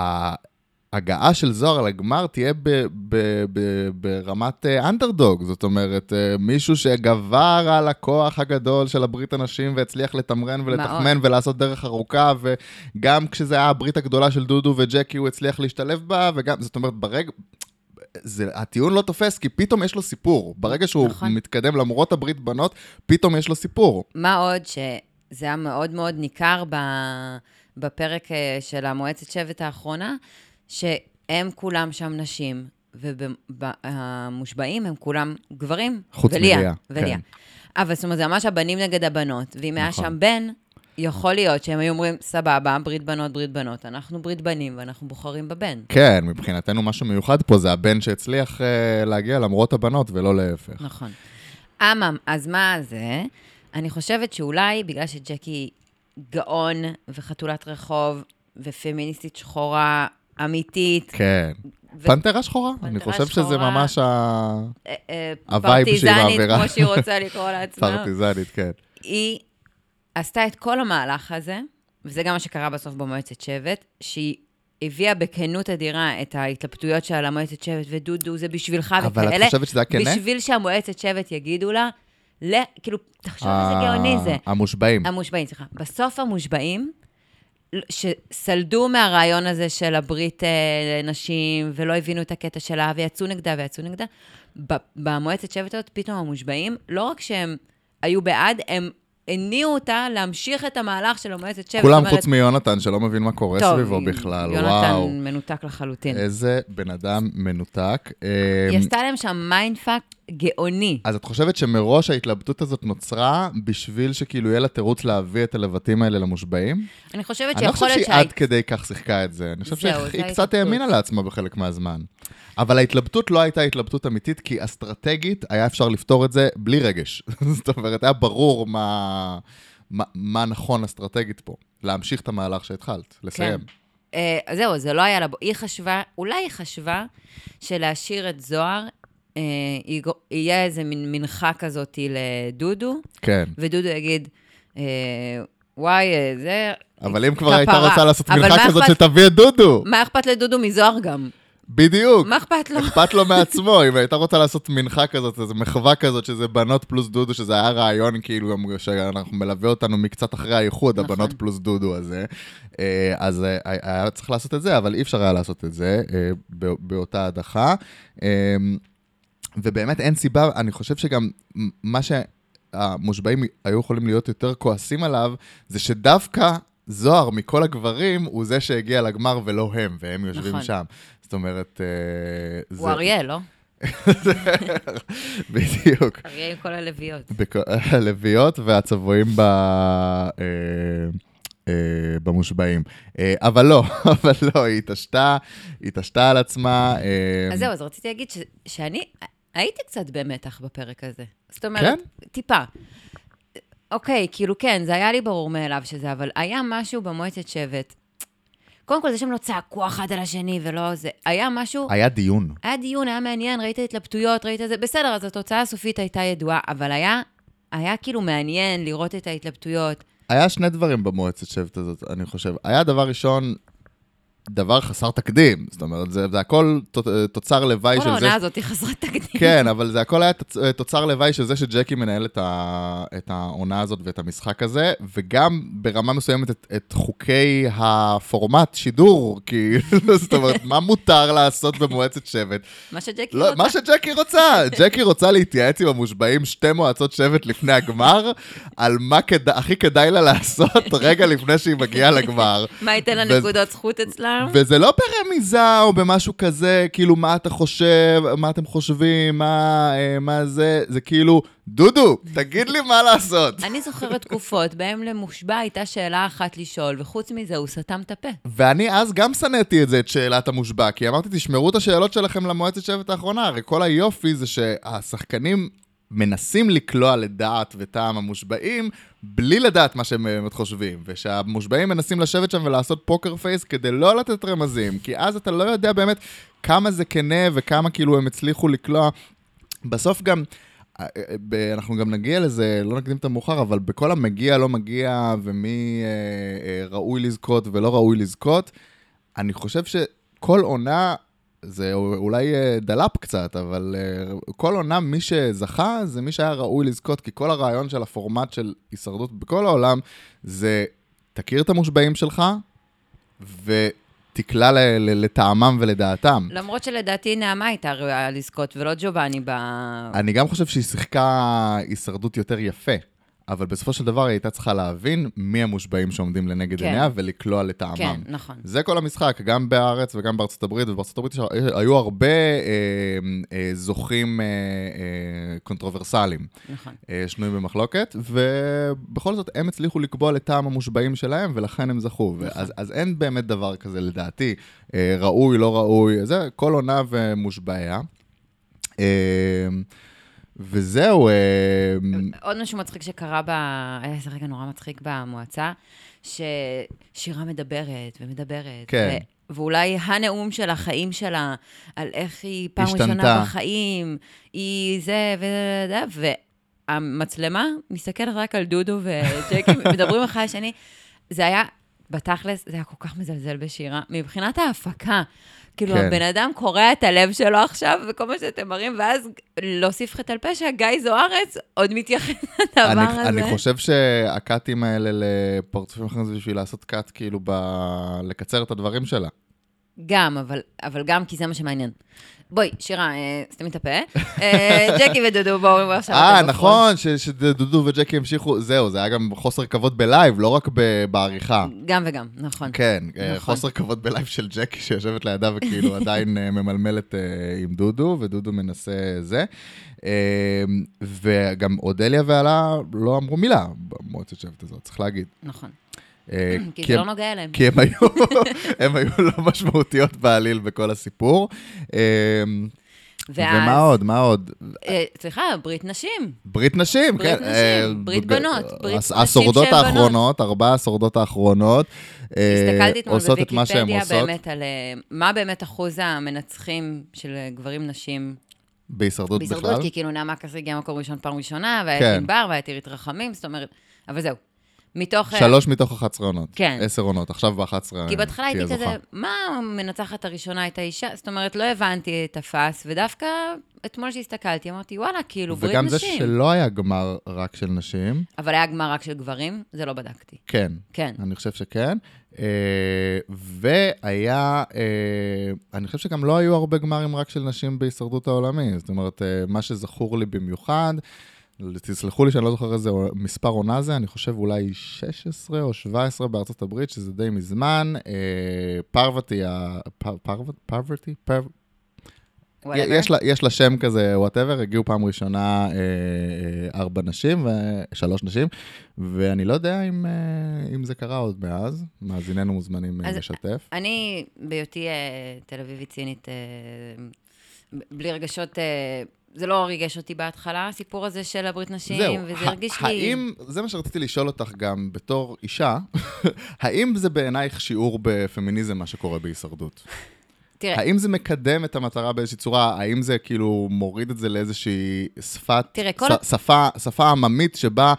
S2: ההגעה של זוהר לגמר תהיה ב- ב- ב- ברמת אה, אנדרדוג, זאת אומרת, אה, מישהו שגבר על הכוח הגדול של הברית הנשים והצליח לתמרן ולתחמן ולעשות דרך ארוכה, וגם כשזה היה הברית הגדולה של דודו וג'קי, הוא הצליח להשתלב בה, וגם, זאת אומרת, ברגע... זה, הטיעון לא תופס, כי פתאום יש לו סיפור. ברגע שהוא
S3: נכון.
S2: נכון. מתקדם למרות הברית בנות, פתאום יש לו סיפור.
S3: מה עוד שזה היה מאוד מאוד ניכר ב... בפרק אה, של המועצת שבט האחרונה, שהם כולם שם נשים, והמושבעים הם כולם גברים.
S2: חוץ
S3: וליה,
S2: מליה, כן.
S3: וליה. אבל זאת אומרת, זה ממש הבנים נגד הבנות, ואם היה
S2: נכון.
S3: שם בן, יכול להיות שהם היו אומרים, סבבה, ברית בנות, ברית בנות, אנחנו ברית בנים ואנחנו בוחרים בבן.
S2: כן, מבחינתנו משהו מיוחד פה זה הבן שהצליח uh, להגיע למרות הבנות ולא להפך.
S3: נכון. אמם, אז מה זה? אני חושבת שאולי בגלל שג'קי גאון וחתולת רחוב ופמיניסטית שחורה אמיתית,
S2: כן.
S3: ו-
S2: פנתרה שחורה? אני
S3: פנתרה
S2: חושב שזה
S3: שחורה.
S2: ממש ה...
S3: אה, אה,
S2: הווייב שהיא
S3: פרטיזנית,
S2: מעבירה.
S3: כמו שהיא
S2: [LAUGHS]
S3: רוצה לקרוא לעצמה,
S2: פרטיזנית, כן.
S3: היא עשתה את כל המהלך הזה, וזה גם מה שקרה בסוף במועצת שבט, שהיא... הביאה בכנות אדירה את ההתלבטויות שלה למועצת שבט, ודודו, זה בשבילך וכאלה.
S2: אבל את חושבת כן? שזה היה כנה?
S3: בשביל שהמועצת שבט יגידו לה, ל... כאילו, תחשוב איזה
S2: ה-
S3: גאוני זה.
S2: המושבעים.
S3: המושבעים, סליחה. בסוף המושבעים, שסלדו מהרעיון הזה של הברית אה, נשים, ולא הבינו את הקטע שלה, ויצאו נגדה ויצאו נגדה, ב- במועצת שבט הזאת, פתאום המושבעים, לא רק שהם היו בעד, הם הניעו אותה להמשיך את המהלך של המועצת שבט.
S2: כולם
S3: זאת אומרת,
S2: חוץ מיונתן שלא מבין מה קורה
S3: טוב,
S2: סביבו בכלל,
S3: יונתן
S2: וואו. אה,
S3: מנותק לחלוטין.
S2: איזה בן אדם מנותק.
S3: היא
S2: אמ,
S3: עשתה להם שם מיינדפאק גאוני.
S2: אז את חושבת שמראש ההתלבטות הזאת נוצרה בשביל שכאילו יהיה לה תירוץ להביא את הלבטים האלה למושבעים?
S3: אני חושבת
S2: אני לא חושב
S3: שיכול להיות
S2: שהיא
S3: שהי...
S2: עד כדי כך שיחקה את זה. אני חושב
S3: זהו, זו
S2: שהיא קצת
S3: ההתלבטות.
S2: האמינה לעצמה בחלק מהזמן. אבל ההתלבטות לא הייתה התלבטות אמיתית, כי אסטרטגית היה אפשר לפתור את זה בלי רגש. [LAUGHS] זאת אומרת, היה ברור מה, מה, מה נכון אסטרטגית פה. להמשיך את המהלך שהתחלת, לסיים.
S3: אה, אז זהו, זה לא היה לה... בו- היא חשבה, אולי היא חשבה שלהשאיר את זוהר, אה, היא גו- יהיה איזה מין מנחה כזאת לדודו,
S2: כן.
S3: ודודו יגיד, אה, וואי, אה, זה...
S2: אבל אם כבר הייתה
S3: כפרה.
S2: רוצה לעשות
S3: אבל
S2: מלכה
S3: מה
S2: כזאת,
S3: אכפת-
S2: שתביא את דודו.
S3: מה אכפת לדודו מזוהר גם?
S2: בדיוק.
S3: מה אכפת לו?
S2: אכפת לו מעצמו, אם הייתה רוצה לעשות מנחה כזאת, איזו מחווה כזאת, שזה בנות פלוס דודו, שזה היה רעיון כאילו, גם שאנחנו מלווה אותנו מקצת אחרי האיחוד,
S3: נכון.
S2: הבנות פלוס דודו הזה. אה, אז אה, היה צריך לעשות את זה, אבל אי אפשר היה לעשות את זה אה, בא- באותה הדחה. אה, ובאמת אין סיבה, אני חושב שגם מה שהמושבעים היו יכולים להיות יותר כועסים עליו, זה שדווקא זוהר מכל הגברים הוא זה שהגיע לגמר ולא הם, והם יושבים
S3: נכון.
S2: שם. זאת אומרת, אה, [LAUGHS] זה...
S3: הוא אריה, לא?
S2: [LAUGHS] בדיוק.
S3: אריה עם כל הלוויות.
S2: בכ- הלוויות והצבועים ב... אה, אה, במושבעים. אה, אבל לא, [LAUGHS] אבל לא, היא התעשתה, היא התעשתה על עצמה. אה,
S3: אז זהו, אז רציתי להגיד ש, שאני הייתי קצת במתח בפרק הזה. זאת אומרת,
S2: כן?
S3: טיפה. אוקיי, כאילו כן, זה היה לי ברור מאליו שזה, אבל היה משהו במועצת שבט. קודם כל, זה שהם לא צעקו אחד על השני ולא זה. היה משהו,
S2: היה דיון.
S3: היה דיון, היה מעניין, ראית התלבטויות, ראית זה, בסדר, אז התוצאה הסופית הייתה ידועה, אבל היה, היה כאילו מעניין לראות את ההתלבטויות.
S2: היה שני דברים במועצת שבט הזאת, אני חושב. היה דבר ראשון, דבר חסר תקדים. זאת אומרת, זה, זה הכל תוצ- תוצר לוואי
S3: כל
S2: של זה
S3: העונה הזאת היא חסרת תקדים.
S2: כן, אבל זה הכל היה תוצ- אה, תוצר לוואי של זה שג'קי מנהל את, ה... את העונה הזאת ואת המשחק הזה, וגם ברמה מסוימת את, את חוקי הפורמט שידור, כאילו, [LAUGHS] זאת אומרת, מה מותר לעשות במועצת שבט?
S3: מה שג'קי
S2: לא,
S3: רוצה.
S2: מה שג'קי רוצה, ג'קי רוצה להתייעץ עם המושבעים שתי מועצות שבט לפני הגמר, על מה כד... הכי כדאי לה לעשות רגע לפני שהיא מגיעה לגמר.
S3: מה ייתן לה
S2: ו-
S3: נקודות זכות אצלם?
S2: וזה לא ברמיזה או במשהו כזה, כאילו, מה אתה חושב, מה אתם חושבים, מה, אה, מה זה, זה כאילו, דודו, תגיד לי מה לעשות.
S3: אני זוכרת תקופות בהן למושבע הייתה שאלה אחת לשאול, וחוץ מזה הוא סתם את הפה.
S2: ואני אז גם שנאתי את זה, את שאלת המושבע, כי אמרתי, תשמרו את השאלות שלכם למועצת שבט האחרונה, הרי כל היופי זה שהשחקנים מנסים לקלוע לדעת וטעם המושבעים, בלי לדעת מה שהם אה, חושבים, ושהמושבעים מנסים לשבת שם ולעשות פוקר פייס כדי לא לתת רמזים, כי אז אתה לא יודע באמת כמה זה כנה וכמה כאילו הם הצליחו לקלוע. בסוף גם, אה, אה, ב- אנחנו גם נגיע לזה, לא נקדים את המאוחר, אבל בכל המגיע, לא מגיע, ומי אה, אה, ראוי לזכות ולא ראוי לזכות, אני חושב שכל עונה, זה אולי אה, דלאפ קצת, אבל אה, כל עונה מי שזכה זה מי שהיה ראוי לזכות, כי כל הרעיון של הפורמט של הישרדות בכל העולם זה תכיר את המושבעים שלך ותקלע ל- ל- לטעמם ולדעתם.
S3: למרות שלדעתי נעמה הייתה ראויה לזכות, ולא ג'ובאני ב... נכון.
S2: אני גם חושב שהיא שיחקה הישרדות יותר יפה, אבל בסופו של דבר היא הייתה צריכה להבין מי המושבעים שעומדים לנגד
S3: כן.
S2: עיניה ולקלוע לטעמם.
S3: כן, נכון.
S2: זה כל המשחק, גם בארץ וגם בארצות הברית, ובארצות הברית יש- היו הרבה אה, אה, זוכים אה, אה, קונטרוברסליים,
S3: נכון.
S2: אה, שנויים במחלוקת, ובכל זאת הם הצליחו לקבוע לטעם המושבעים שלהם, ולכן הם זכו.
S3: נכון.
S2: אז, אז אין באמת דבר כזה לדעתי, אה, ראוי, לא ראוי, זה כל עונה ומושבעיה. אה, וזהו, אה,
S3: עוד משהו מצחיק שקרה ב... היה איזה רגע נורא מצחיק במועצה, ששירה מדברת ומדברת.
S2: כן.
S3: ו... ואולי הנאום של החיים שלה, על איך היא פעם
S2: השתנתה.
S3: ראשונה בחיים, היא זה וזה, וזה, והמצלמה מסתכלת רק על דודו
S2: [LAUGHS]
S3: וג'קי, מדברים אחד לשני. זה היה, בתכלס, זה היה כל כך מזלזל בשירה. מבחינת ההפקה, כאילו,
S2: כן.
S3: כן. הבן אדם קורע את הלב שלו עכשיו, וכל מה שאתם מראים, ואז להוסיף חטא על פשע, גיא זוארץ עוד מתייחס לדבר
S2: אני,
S3: הזה.
S2: אני חושב שהקאטים האלה לפרצופים אחרים זה בשביל לעשות קאט, כאילו, ב... לקצר את הדברים שלה.
S3: גם, אבל, אבל גם כי זה מה שמעניין. בואי, שירה, אה, סתמי את הפה.
S2: [LAUGHS]
S3: אה, ג'קי ודודו, בואו בואו עכשיו.
S2: אה,
S3: אתם בחוץ.
S2: נכון, ש- שדודו וג'קי המשיכו, זהו, זה היה גם חוסר כבוד בלייב, לא רק ב- בעריכה.
S3: גם וגם, נכון.
S2: כן, אה,
S3: נכון.
S2: חוסר כבוד בלייב של ג'קי שיושבת לידה
S3: [LAUGHS]
S2: וכאילו עדיין אה, ממלמלת אה, עם דודו, ודודו מנסה זה. אה, וגם אודליה ואלה לא אמרו מילה במועצת שבט הזאת, צריך להגיד.
S3: נכון.
S2: אה,
S3: [CLEARS THROAT] כי זה לא נוגע אליהם.
S2: כי הם היו,
S3: [LAUGHS]
S2: הם היו לא משמעותיות בעליל בכל הסיפור. אה,
S3: ואז-
S2: ומה עוד, מה עוד?
S3: אה, סליחה, ברית נשים.
S2: ברית נשים,
S3: ברית
S2: כן.
S3: נשים,
S2: אה,
S3: ברית
S2: בג-
S3: בנות, ברית
S2: הס-
S3: נשים
S2: השורדות
S3: שהן
S2: האחרונות, ארבע השורדות האחרונות, אה,
S3: הסתכלתי אתמול
S2: עושות את מה שהן
S3: בוויקיפדיה
S2: עושות
S3: באמת על אה, מה באמת אחוז המנצחים של אה, גברים נשים
S2: בהישרדות בכלל.
S3: בהישרדות, כי כאילו נעמה כסיף הגיעה מקום ראשון פעם ראשונה,
S2: כן.
S3: והיה את ענבר, והיה את עירית רחמים, זאת אומרת, אבל זהו. מתוך... אה,
S2: שלוש מתוך 11 עונות.
S3: כן.
S2: עשר עונות, עכשיו ב-11
S3: כי בהתחלה
S2: כן, תהיה
S3: הייתי
S2: זוכה.
S3: כזה, מה המנצחת הראשונה הייתה אישה? זאת אומרת, לא הבנתי את הפאס, ודווקא אתמול שהסתכלתי, אמרתי, וואלה, כאילו, ברית
S2: וגם זה
S3: נשים.
S2: שלא היה גמר רק של נשים,
S3: אבל היה גמר רק של גברים, זה לא בדקתי.
S2: כן.
S3: כן.
S2: אני חושב שכן. אה, והיה, אה, אני חושב שגם לא היו הרבה גמרים רק של נשים בהישרדות העולמי. זאת אומרת, אה, מה שזכור לי במיוחד, תסלחו לי שאני לא זוכר איזה מספר עונה זה, אני חושב אולי 16 או 17 בארצות הברית, שזה די מזמן. אה, פרווטי, ה- פ- פרווט- פרווטי? פרו-
S3: whatever.
S2: יש לה- יש לה שם כזה, וואטאבר, הגיעו פעם ראשונה אה, אה, ארבע נשים, ו- שלוש נשים, ואני לא יודע אם, אה, אם זה קרה עוד מאז, מאזיננו מוזמנים אה,
S3: אז-
S2: לשתף.
S3: אני, בהיותי אה, תל אביבית צינית, אה, ב- בלי רגשות, אה, זה לא ריגש אותי בהתחלה, הסיפור הזה של הברית נשים, וזה
S2: ה-
S3: הרגיש לי...
S2: האם, זה מה שרציתי לשאול אותך גם בתור אישה, [LAUGHS] האם זה בעינייך שיעור בפמיניזם, מה שקורה בהישרדות?
S3: תראה,
S2: האם זה מקדם את המטרה באיזושהי צורה? האם זה כאילו מוריד את זה לאיזושהי שפת,
S3: תראה, כל
S2: ש-
S3: ה-
S2: שפה, שפה עממית שבה ה-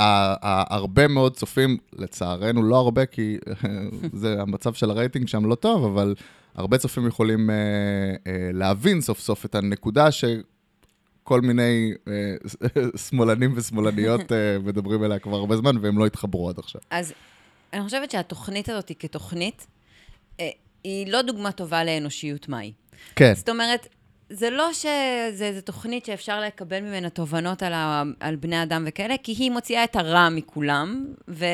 S2: ה- הרבה מאוד צופים, לצערנו לא הרבה, כי [LAUGHS] זה המצב של הרייטינג שם לא טוב, אבל הרבה צופים יכולים אה, אה, להבין סוף סוף את הנקודה ש... כל מיני אה, [LAUGHS] שמאלנים ושמאלניות אה, מדברים עליה כבר הרבה זמן, והם לא התחברו עד עכשיו.
S3: אז אני חושבת שהתוכנית הזאת היא כתוכנית, אה, היא לא דוגמה טובה לאנושיות מהי.
S2: כן.
S3: זאת אומרת, זה לא שזה איזו תוכנית שאפשר לקבל ממנה תובנות על, ה, על בני אדם וכאלה, כי היא מוציאה את הרע מכולם, ו,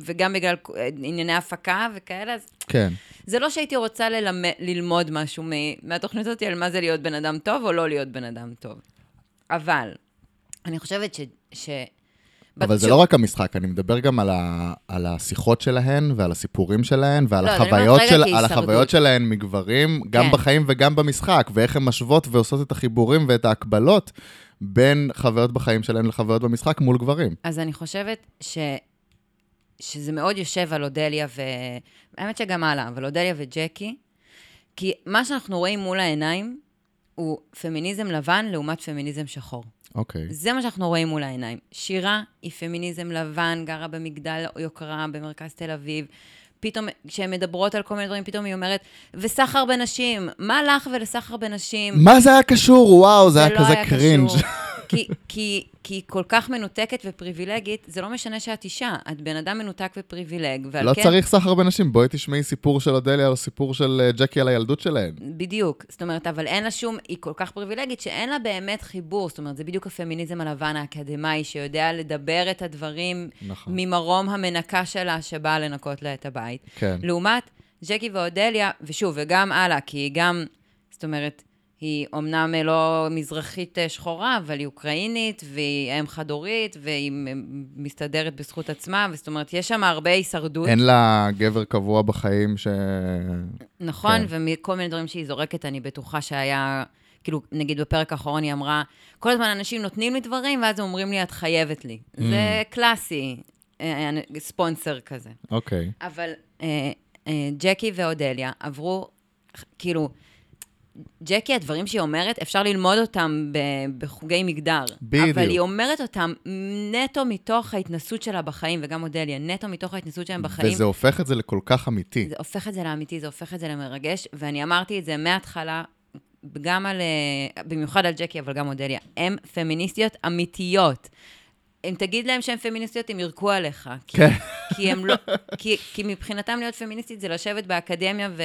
S3: וגם בגלל אה, ענייני הפקה וכאלה, אז
S2: כן.
S3: זה לא שהייתי רוצה ללמד, ללמוד משהו מ, מהתוכנית הזאת על מה זה להיות בן אדם טוב או לא להיות בן אדם טוב. אבל, אני חושבת ש... ש
S2: אבל זה
S3: שוב,
S2: לא רק המשחק, אני מדבר גם על, ה, על השיחות שלהן ועל הסיפורים שלהן ועל
S3: לא, אבל אני
S2: החוויות,
S3: אומרת רגע
S2: של, על
S3: כהישרדות.
S2: החוויות שלהן מגברים, גם
S3: כן.
S2: בחיים וגם במשחק, ואיך הן משוות ועושות את החיבורים ואת ההקבלות בין חוויות בחיים שלהן לחוויות במשחק מול גברים.
S3: אז אני חושבת ש... שזה מאוד יושב על אודליה ו... האמת שגם הלאה, אבל אודליה וג'קי, כי מה שאנחנו רואים מול העיניים הוא פמיניזם לבן לעומת פמיניזם שחור.
S2: אוקיי.
S3: זה מה שאנחנו רואים מול העיניים. שירה היא פמיניזם לבן, גרה במגדל יוקרה במרכז תל אביב. פתאום, כשהן מדברות על כל מיני דברים, פתאום היא אומרת, וסחר בנשים, מה לך ולסחר בנשים?
S2: מה זה היה קשור? וואו, זה
S3: זה
S2: היה
S3: לא
S2: כזה
S3: היה
S2: קרינג'.
S3: קשור. [LAUGHS] כי, כי, כי היא כל כך מנותקת ופריבילגית, זה לא משנה שאת אישה, את בן אדם מנותק ופריבילג, ועל
S2: [LAUGHS] לא
S3: כן...
S2: צריך סחר בנשים, בואי תשמעי סיפור של אודליה או סיפור של אה, ג'קי על הילדות שלהן.
S3: בדיוק. זאת אומרת, אבל אין לה שום, היא כל כך פריבילגית, שאין לה באמת חיבור. זאת אומרת, זה בדיוק הפמיניזם הלבן האקדמאי, שיודע לדבר את הדברים
S2: נכון.
S3: ממרום המנקה שלה, שבאה לנקות לה את הבית.
S2: כן.
S3: לעומת ג'קי ואודליה, ושוב, וגם הלאה, כי היא גם, זאת אומרת, היא אומנם לא מזרחית אה, שחורה, אבל היא אוקראינית, והיא אם חד-הורית, והיא מ- מסתדרת בזכות עצמה, וזאת אומרת, יש שם הרבה הישרדות,
S2: אין לה גבר קבוע בחיים ש...
S3: נכון?
S2: כן.
S3: ומכל מיני דברים שהיא זורקת, אני בטוחה שהיה... כאילו, נגיד בפרק האחרון היא אמרה, כל הזמן אנשים נותנים לי דברים, ואז הם אומרים לי, את חייבת לי.
S2: Mm.
S3: זה קלאסי, אה, אה, ספונסר כזה.
S2: אוקיי.
S3: אבל אה, אה, ג'קי ואודליה עברו, כאילו, ג'קי, הדברים שהיא אומרת, אפשר ללמוד אותם ב- בחוגי מגדר.
S2: בדיוק.
S3: אבל היא אומרת אותם נטו מתוך ההתנסות שלה בחיים, וגם אודליה, נטו מתוך ההתנסות שלהם בחיים.
S2: וזה הופך את זה לכל כך אמיתי.
S3: זה הופך את זה לאמיתי, זה הופך את זה למרגש, ואני אמרתי את זה מההתחלה, גם על, אה, במיוחד על ג'קי, אבל גם אודליה, הן פמיניסטיות אמיתיות. אם תגיד להם שהן פמיניסטיות, הם ירקו עליך. כי,
S2: כן.
S3: כי, הם לא, כי, כי מבחינתם להיות פמיניסטית זה לשבת באקדמיה ו...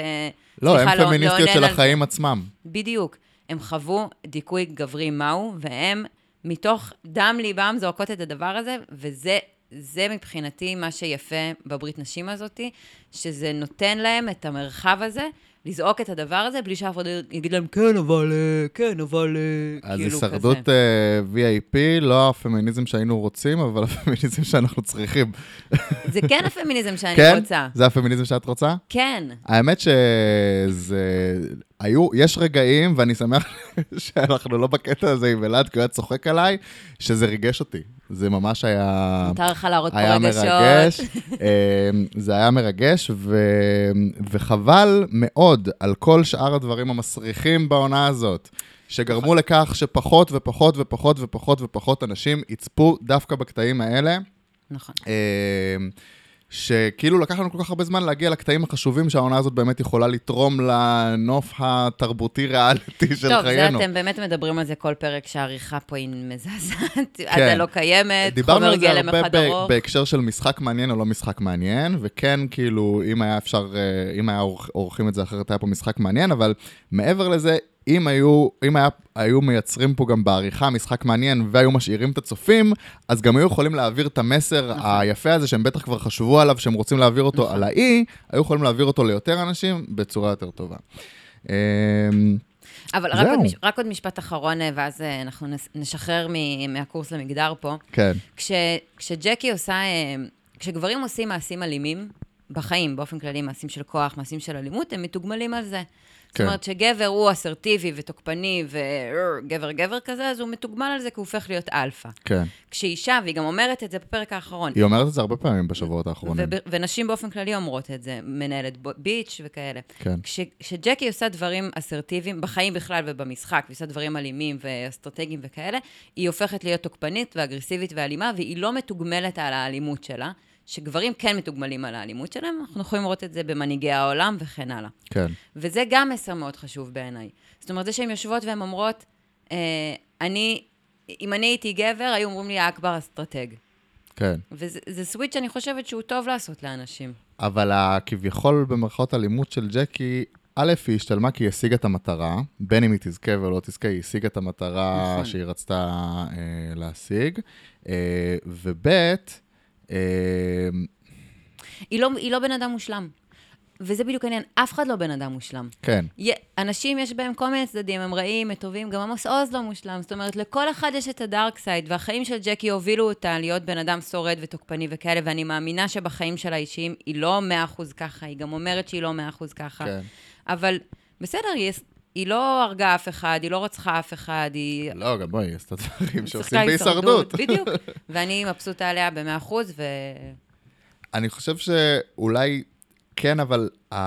S2: לא,
S3: סליחה,
S2: הן פמיניסטיות
S3: לאונן
S2: של
S3: על-
S2: החיים עצמם.
S3: בדיוק. הם חוו דיכוי גברי מהו, והם מתוך דם ליבם זועקות את הדבר הזה, וזה זה מבחינתי מה שיפה בברית נשים הזאתי, שזה נותן להם את המרחב הזה, לזעוק את הדבר הזה, בלי שאף אחד יגיד להם, כן, אבל, אה, כן, אבל, אה",
S2: אז
S3: כאילו
S2: הישרדות
S3: כזה.
S2: אה, VIP, לא הפמיניזם שהיינו רוצים, אבל [LAUGHS] הפמיניזם שאנחנו צריכים.
S3: זה כן הפמיניזם שאני
S2: אה, כן?
S3: רוצה.
S2: זה הפמיניזם שאת רוצה?
S3: כן.
S2: האמת שזה... היו, יש רגעים, ואני שמח [LAUGHS] שאנחנו לא בקטע הזה עם אלעד, כי הוא היה צוחק עליי, שזה ריגש אותי. זה ממש היה...
S3: מותר לך להראות פה
S2: אה, היה
S3: רגשות.
S2: מרגש, [LAUGHS] אה, זה היה מרגש, ו... וחבל מאוד על כל שאר הדברים המסריחים בעונה הזאת, שגרמו לכך שפחות ופחות ופחות ופחות ופחות אנשים יצפו דווקא בקטעים האלה,
S3: נכון.
S2: אה, שכאילו לקח לנו כל כך הרבה זמן להגיע לקטעים החשובים שהעונה הזאת באמת יכולה לתרום לנוף התרבותי ריאליטי [LAUGHS] של
S3: טוב, זה
S2: חיינו.
S3: אתם באמת מדברים על זה כל פרק שהעריכה פה היא מזעזעת,
S2: כן.
S3: עדה לא קיימת,
S2: דיברנו
S3: חומר
S2: על זה
S3: גלם
S2: הרבה ב-
S3: אחד ארוך.
S2: בהקשר של משחק מעניין או לא משחק מעניין, וכן, כאילו, אם היה אפשר, אה, אם היה עורך- עורכים את זה אחרת, היה פה משחק מעניין, אבל מעבר לזה, אם היו, אם היה, היו מייצרים פה גם בעריכה משחק מעניין והיו משאירים את הצופים, אז גם היו יכולים להעביר את המסר
S3: נכון.
S2: היפה הזה שהם בטח כבר חשבו עליו, שהם רוצים להעביר אותו
S3: נכון.
S2: על האי, היו יכולים להעביר אותו ליותר אנשים בצורה יותר טובה. אמ,
S3: אבל רק
S2: זהו.
S3: עוד, מש, רק עוד משפט אחרון, אה, ואז אה, אנחנו נס, נשחרר מ, מהקורס למגדר פה.
S2: כן,
S3: כש, כשג'קי עושה, אה, כשגברים עושים מעשים אלימים, בחיים, באופן כללי, מעשים של כוח, מעשים של אלימות, הם מתוגמלים על זה. זאת
S2: כן.
S3: אומרת שגבר הוא אסרטיבי ותוקפני וגבר גבר כזה, אז הוא מתוגמל על זה כי הוא הופך להיות אלפא.
S2: כן.
S3: כשאישה, והיא גם אומרת את זה בפרק האחרון,
S2: היא אומרת את זה הרבה פעמים בשבועות האחרונים.
S3: וב- ונשים באופן כללי אומרות את זה, מנהלת ב- ביץ' וכאלה.
S2: כן.
S3: כש- כשג'קי עושה דברים אסרטיביים, בחיים בכלל ובמשחק, והיא עושה דברים אלימים ואסטרטגיים וכאלה, היא הופכת להיות תוקפנית ואגרסיבית ואלימה, והיא לא מתוגמלת על האלימות שלה, שגברים כן מתוגמלים על האלימות שלהם, אנחנו יכולים לראות את זה במנהיגי העולם וכן הלאה.
S2: כן,
S3: וזה גם מסר מאוד חשוב בעיניי. זאת אומרת, זה שהן יושבות והן אומרות, אה, אני, אם אני הייתי גבר, היו אומרים לי, האכבר אסטרטג.
S2: כן.
S3: וזה זה סוויץ' שאני חושבת שהוא טוב לעשות לאנשים.
S2: אבל הכביכול במרכאות אלימות של ג'קי, א', היא השתלמה כי היא השיגה את המטרה, בין אם היא תזכה ולא תזכה, היא השיגה את המטרה
S3: נכון.
S2: שהיא רצתה אה, להשיג, אה, וב', אה,
S3: היא לא, היא לא בן אדם מושלם. וזה בדיוק העניין, אף אחד לא בן אדם מושלם.
S2: כן,
S3: יה- אנשים יש בהם כל מיני צדדים, הם רעים, הם טובים, גם עמוס עוז לא מושלם. זאת אומרת, לכל אחד יש את הדארק סייד, והחיים של ג'קי הובילו אותה להיות בן אדם שורד ותוקפני וכאלה, ואני מאמינה שבחיים שלה האישיים היא לא מאה אחוז ככה, היא גם אומרת שהיא לא מאה אחוז ככה.
S2: כן.
S3: אבל בסדר, היא, היא לא הרגה אף אחד, היא לא רצחה אף אחד, היא...
S2: לא, גם בואי, היא עשתה דברים שעושים
S3: כן. שיחקה
S2: בהישרדות.
S3: [LAUGHS] בדיוק. ואני מבסוטה עליה במאה אחוז, ו...
S2: אני חושב שאולי כן, אבל uh,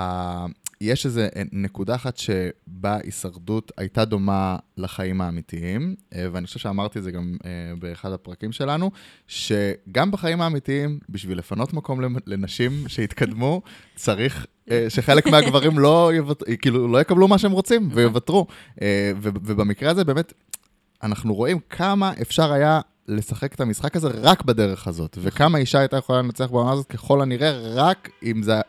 S2: יש איזו נקודה אחת שבה הישרדות הייתה דומה לחיים האמיתיים, uh, ואני חושב שאמרתי את זה גם uh, באחד הפרקים שלנו, שגם בחיים האמיתיים, בשביל לפנות מקום למ- לנשים שהתקדמו, צריך... אה, שחלק מהגברים לא, יוות... כאילו, לא יקבלו מה שהם רוצים ויוותרו. אה, ו- ובמקרה הזה באמת, אנחנו רואים כמה אפשר היה לשחק את המשחק הזה רק בדרך הזאת, וכמה אישה הייתה יכולה לנצח בעונה הזאת ככל הנראה רק אם זה,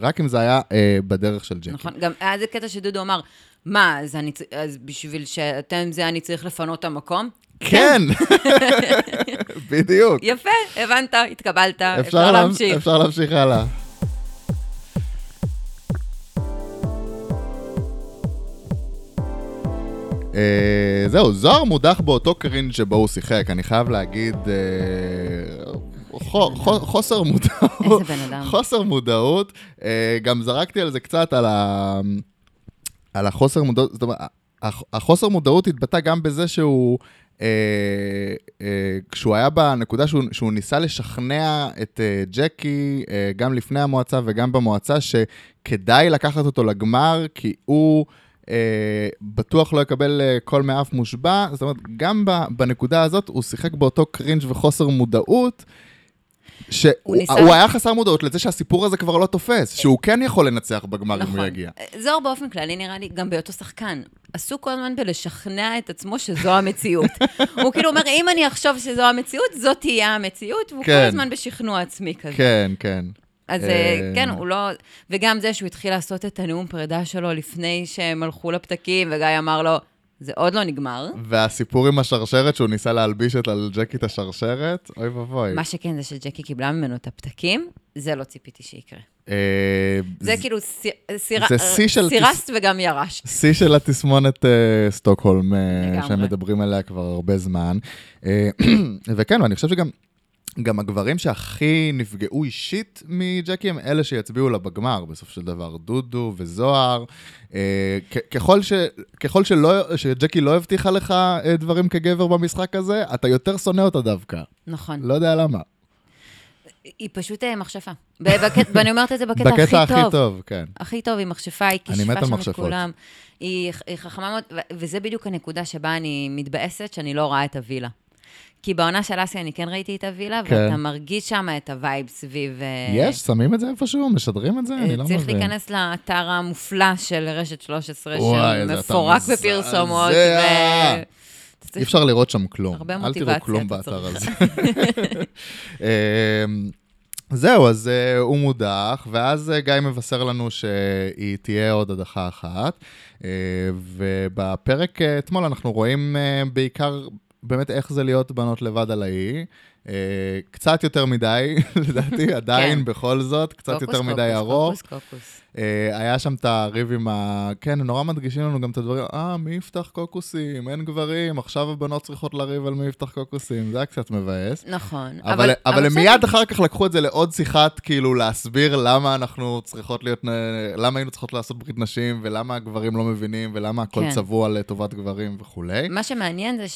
S2: רק אם זה היה אה, בדרך של ג'קי.
S3: נכון, גם היה זה קטע שדודו אמר, מה, אז, אני, צ- אז בשביל שאתם זה אני צריך לפנות את המקום?
S2: כן, [LAUGHS] בדיוק.
S3: יפה, הבנת, התקבלת, אפשר,
S2: לה-
S3: להמשיך.
S2: אפשר להמשיך הלאה. אה, זהו, זוהר מודח באותו קרינג' שבו הוא שיחק, אני חייב להגיד, אה, חו- חו- חוסר מודעות.
S3: איזה בן אדם.
S2: חוסר מודעות. אה, גם זרקתי על זה קצת, על ה... על החוסר מודעות, זאת אומרת, הח- החוסר מודעות התבטא גם בזה שהוא, אה, אה, כשהוא היה בנקודה שהוא, שהוא ניסה לשכנע את אה, ג'קי, אה, גם לפני המועצה וגם במועצה, שכדאי לקחת אותו לגמר, כי הוא... אה, בטוח לא יקבל אה, קול מאף מושבע, זאת אומרת, גם ב, בנקודה הזאת הוא שיחק באותו קרינג' וחוסר מודעות, שהוא
S3: הוא ניסה-
S2: הוא היה חסר מודעות לזה שהסיפור הזה כבר לא תופס, שהוא כן יכול לנצח בגמר אם הוא
S3: נכון.
S2: יגיע.
S3: זוהר באופן כללי נראה לי, גם בהיותו שחקן, עסוק כל הזמן בלשכנע את עצמו שזו
S2: [LAUGHS]
S3: המציאות. הוא כאילו אומר, אם אני אחשוב שזו המציאות, זאת תהיה המציאות, והוא
S2: כן.
S3: כל הזמן בשכנוע עצמי כזה.
S2: כן, כן.
S3: אז
S2: אה,
S3: אה, כן, הוא לא... וגם זה שהוא התחיל לעשות את הנאום פרידה שלו לפני שהם הלכו לפתקים, וגיא אמר לו, זה עוד לא נגמר.
S2: אה. והסיפור עם השרשרת, שהוא ניסה להלביש את על ג'קי את השרשרת, אוי ואבוי.
S3: מה שכן זה שג'קי קיבלה ממנו את הפתקים, זה לא ציפיתי שיקרה.
S2: אה,
S3: זה
S2: ז-
S3: כאילו סיר- סירה-
S2: זה שיא של
S3: סירסת וגם ירשת.
S2: שיא של התסמונת אה, סטוקהולם, אה,
S3: לגמרי.
S2: שהם מדברים עליה כבר הרבה זמן. אה, [CLEARS THROAT] וכן, ואני חושב שגם... גם הגברים שהכי נפגעו אישית מג'קי הם אלה שיצביעו לה בגמר, בסופו של דבר, דודו וזוהר. אה, כ- ככל, ש, ככל שלא, שג'קי לא הבטיחה לך אה, דברים כגבר במשחק הזה, אתה יותר שונא אותה דווקא.
S3: נכון.
S2: לא יודע למה.
S3: היא פשוט אה, מכשפה. ב- בקט- ואני אומרת את זה בקטע הכי
S2: בקטע
S3: טוב.
S2: הכי טוב, כן.
S3: הכי טוב, היא מכשפה, היא
S2: אני מת
S3: כישפה
S2: על
S3: שם את
S2: מכשפות.
S3: כולם. היא, היא חכמה מאוד, ו- וזה בדיוק הנקודה שבה אני מתבאסת שאני לא רואה את הווילה. כי בעונה של אסיה אני כן ראיתי את הווילה,
S2: כן.
S3: ואתה מרגיש שם את הווייב סביב... אה,
S2: יש? שמים את זה איפשהו? משדרים את זה?
S3: אה,
S2: אני לא מבין.
S3: צריך להיכנס לאתר המופלא של רשת 13,
S2: וואי, זה אתר
S3: שמפורק
S2: מזעזע.
S3: בפרסומות. ו- אתה
S2: אי
S3: צריך-
S2: אפשר לראות שם כלום.
S3: הרבה
S2: אל
S3: מוטיבציה
S2: תראו כלום
S3: אתה
S2: באתר
S3: צריך.
S2: הזה. [LAUGHS] אמ, זהו, אז uh, הוא מודח, ואז uh, גיא מבשר לנו שהיא תהיה עוד הדחה אחת. Uh, ובפרק uh, אתמול אנחנו רואים uh, בעיקר באמת איך זה להיות בנות לבד על האי. Uh, קצת יותר מדי, [LAUGHS] לדעתי, עדיין,
S3: [LAUGHS] כן.
S2: בכל זאת, קצת
S3: קוקוס,
S2: יותר מדי
S3: קוקוס,
S2: ארוך.
S3: קוקוס, קוקוס.
S2: אה, היה שם את הריב עם ה... כן, הם נורא מדגישים לנו גם את הדברים, אה, מי יפתח קוקוסים? אין גברים, עכשיו הבנות צריכות לריב על מי יפתח קוקוסים, זה היה קצת מבאס.
S3: נכון.
S2: אבל, אבל הם
S3: בסדר.
S2: מיד אחר כך לקחו את זה לעוד שיחת, כאילו, להסביר למה אנחנו צריכות להיות, נ- למה היינו צריכות לעשות ברית נשים, ולמה הגברים לא מבינים, ולמה הכל
S3: כן.
S2: צבוע לטובת גברים וכולי.
S3: מה שמעניין זה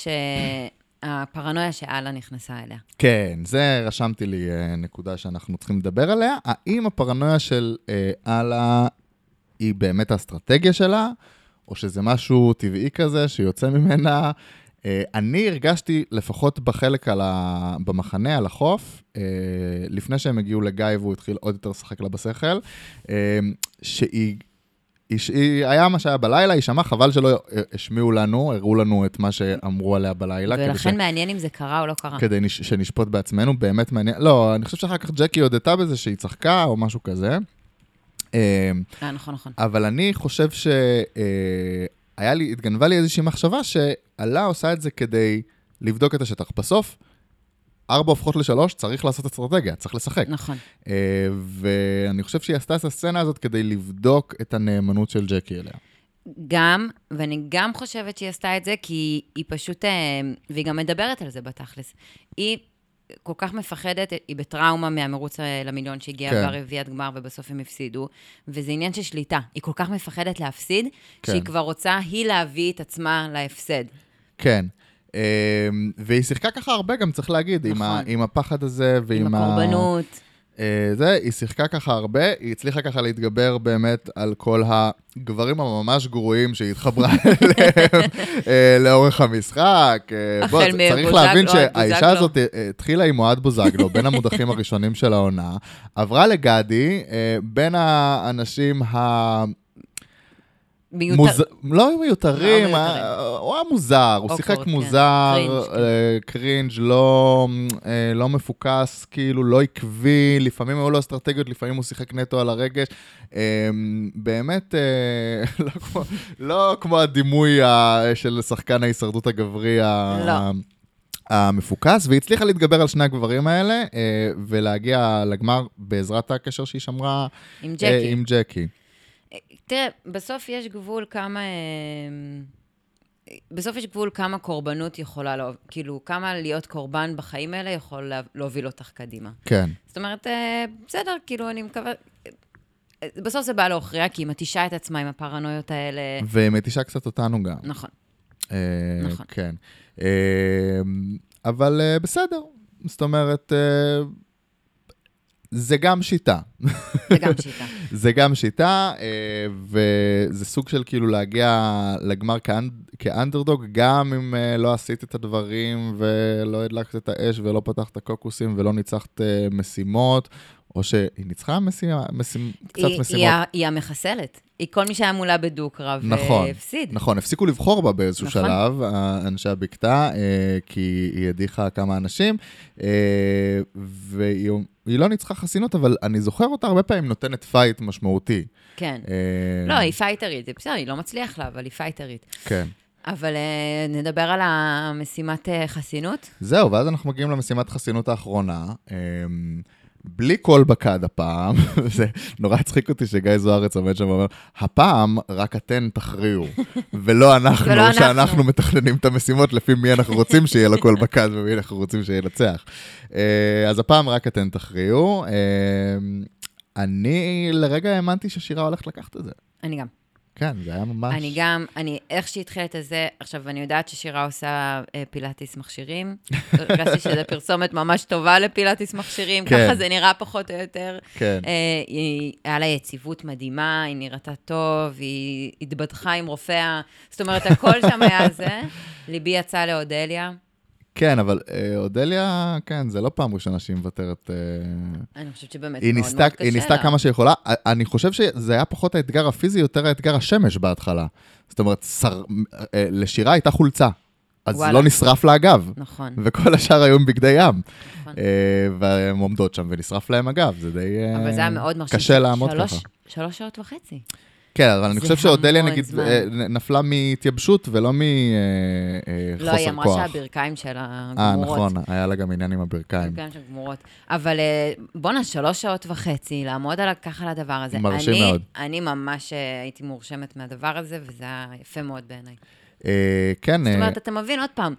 S3: שהפרנויה שאללה נכנסה אליה.
S2: כן, זה רשמתי לי אה, נקודה שאנחנו צריכים לדבר עליה. האם הפרנויה של אה, אללה היא באמת האסטרטגיה שלה, או שזה משהו טבעי כזה שיוצא ממנה? אה, אני הרגשתי, לפחות בחלק על ה... במחנה, על החוף, אה, לפני שהם הגיעו לגיא והוא התחיל עוד יותר לשחק לה בשכל, אה, שהיא... היא, היא, היה מה שהיה בלילה, היא שמעה, חבל שלא אה, השמיעו לנו, הראו לנו את מה שאמרו עליה בלילה. כדי ש-
S3: ולכן מעניין אם זה קרה או לא קרה.
S2: כדי נש- שנשפוט בעצמנו, באמת מעניין. לא, אני חושב שאחר כך ג'קי הודתה בזה שהיא צחקה או משהו כזה. אמ,
S3: אה, נכון, נכון.
S2: אבל אני חושב ש... אה, היה לי, התגנבה לי איזושהי מחשבה שאלה עושה את זה כדי לבדוק את השטח. בסוף, ארבע הופכות לשלוש, צריך לעשות אסטרטגיה, צריך לשחק.
S3: נכון.
S2: אה, ואני חושב שהיא עשתה את הסצנה הזאת כדי לבדוק את הנאמנות של ג'קי אליה.
S3: גם, ואני גם חושבת שהיא עשתה את זה, כי היא פשוט, אה, והיא גם מדברת על זה בתכלס. היא כל כך מפחדת, היא בטראומה מהמרוץ אה, למיליון שהגיעה
S2: כן.
S3: כן. ברביעיית גמר, ובסוף הם הפסידו, וזה עניין של שליטה. היא כל כך מפחדת להפסיד,
S2: כן.
S3: כן. שהיא כבר רוצה היא להביא את עצמה להפסד.
S2: כן. אמ, והיא שיחקה ככה הרבה, גם צריך להגיד, עם ה-
S3: נכון.
S2: עם הפחד הזה ועם
S3: עם
S2: ה-
S3: הקורבנות.
S2: אה, זה, היא שיחקה ככה הרבה, היא הצליחה ככה להתגבר באמת על כל הגברים הממש גרועים שהיא
S3: [LAUGHS]
S2: התחברה אליהם אה, לאורך המשחק. אה, בוא,
S3: החל
S2: צריך
S3: מבוזגלו
S2: להבין
S3: עד
S2: שהאישה
S3: בוזגלו.
S2: הזאת אה, אה, התחילה עם אוהד בוזגלו, בין המודחים הראשונים של העונה, עברה לגדי, אה, בין האנשים ה...
S3: מיותר.
S2: מוז... לא היו מיותרים,
S3: לא מיותרים.
S2: אה, הוא היה מוזר, הוא
S3: אוקיי,
S2: שיחק
S3: כן.
S2: מוזר,
S3: קרינג', כן.
S2: אה, קרינג', לא אה, לא מפוקס, כאילו, לא עקבי, לפעמים היו לו אסטרטגיות, לפעמים הוא שיחק נטו על הרגש. אה, באמת, אה, [LAUGHS] לא כמו- לא כמו הדימוי ה- של שחקן ההישרדות הגברי ה-
S3: לא.
S2: המפוקס, והיא הצליחה להתגבר על שני הגברים האלה אה, ולהגיע לגמר בעזרת הקשר שהיא שמרה
S3: עם
S2: אה,
S3: ג'קי.
S2: עם ג'קי.
S3: תראה, בסוף יש גבול כמה... אמ, בסוף יש גבול כמה קורבנות יכולה, להוב- כאילו, כמה להיות קורבן בחיים האלה יכול לה- להוביל אותך קדימה.
S2: כן.
S3: זאת אומרת, אה, בסדר, כאילו, אני מקווה... אה, בסוף זה בא להוכריע, כי היא מתישה את עצמה עם הפרנויות האלה.
S2: ומתישה קצת אותנו גם.
S3: נכון.
S2: אה,
S3: נכון.
S2: כן. אה, אבל אה, בסדר, זאת אומרת, אה, זה גם שיטה.
S3: זה
S2: [LAUGHS]
S3: גם שיטה.
S2: זה גם שיטה, אה, וזה סוג של כאילו להגיע לגמר כאנד- כאנדרדוג, גם אם אה, לא עשית את הדברים, ולא הדלקת את האש, ולא פתחת קוקוסים, ולא ניצחת אה, משימות, או שהיא ניצחה משימה, משימ... קצת
S3: היא- היא
S2: משימות.
S3: ה- היא המחסלת. היא כל מי שהיה מולה בדו-קרב
S2: נכון,
S3: הפסיד.
S2: נכון, הפסיקו לבחור בה באיזשהו
S3: נכון.
S2: שלב, ה- אנשי הבקתה, אה, כי היא הדיחה כמה אנשים, אה, והיא היא לא ניצחה חסינות, אבל אני זוכר אותה הרבה פעמים נותנת פייט משמעותי.
S3: כן.
S2: אה,
S3: לא, היא פייטרית, זה בסדר, היא לא מצליח לה, אבל היא פייטרית.
S2: כן.
S3: אבל אה, נדבר על המשימת אה, חסינות?
S2: זהו, ואז אנחנו מגיעים למשימת חסינות האחרונה. אה, בלי קול בקד הפעם, [LAUGHS] זה נורא הצחיק אותי שגיא זוארץ עומד שם ואומר, הפעם רק אתן
S3: [LAUGHS]
S2: תכריעו, ולא אנחנו,
S3: ולא אנחנו.
S2: שאנחנו מתכננים את המשימות לפי מי אנחנו רוצים שיהיה לו קול בקד ומי אנחנו רוצים שינצח. אה, אז הפעם רק אתן תכריעו. אה, אני לרגע האמנתי ששירה הולכת לקחת את זה.
S3: אני גם.
S2: כן, זה היה ממש...
S3: אני גם, אני, איך שהתחיל את הזה, עכשיו, אני יודעת ששירה עושה אה,
S2: [LAUGHS]
S3: פילאטיס מכשירים. הרגשתי שזו פרסומת ממש טובה לפילאטיס מכשירים,
S2: כן.
S3: ככה זה נראה פחות או יותר.
S2: כן.
S3: אה, היא, היה לה יציבות מדהימה, היא נראתה טוב, היא התבדחה עם רופאה, זאת אומרת, הכל שם היה זה.
S2: [LAUGHS]
S3: ליבי יצא לאודליה.
S2: כן, אבל אה, אודליה, כן, זה לא פעם ראשונה שהיא מוותרת. אה,
S3: אני חושבת שבאמת
S2: היא
S3: מאוד
S2: ניסתה,
S3: מאוד קשה
S2: היא ניסתה
S3: לה.
S2: כמה שיכולה. אני חושב שזה היה פחות האתגר הפיזי, יותר האתגר השמש בהתחלה. זאת אומרת, שר, אה, לשירה הייתה חולצה. אז
S3: וואלה.
S2: לא נשרף לה הגב.
S3: נכון.
S2: וכל השאר היו עם בגדי ים.
S3: נכון.
S2: אה, והן עומדות שם ונשרף להם הגב, זה די... אה,
S3: אבל זה היה מאוד מרשים.
S2: קשה לעמוד
S3: שלוש-
S2: ככה.
S3: שלוש שעות וחצי.
S2: כן, אבל אני
S3: זה
S2: חושב שאודליה
S3: המון
S2: נגיד
S3: זמן.
S2: אה, נ- נפלה מתייבשות ולא מחוסר כוח.
S3: לא, היא אמרה שהברכיים שלה
S2: אה,
S3: גמורות.
S2: נכון, היה לה גם עניין עם הברכיים.
S3: הברכיים שלה גמורות. אבל אה, בואנה, שלוש שעות וחצי, לעמוד על, ככה על הדבר הזה.
S2: מרשים
S3: אני-
S2: מאוד.
S3: אני ממש אה, הייתי מורשמת מהדבר הזה, וזה היה יפה מאוד בעיניי.
S2: אה, כן,
S3: זאת
S2: אה,
S3: אומרת, אתה מבין, עוד פעם,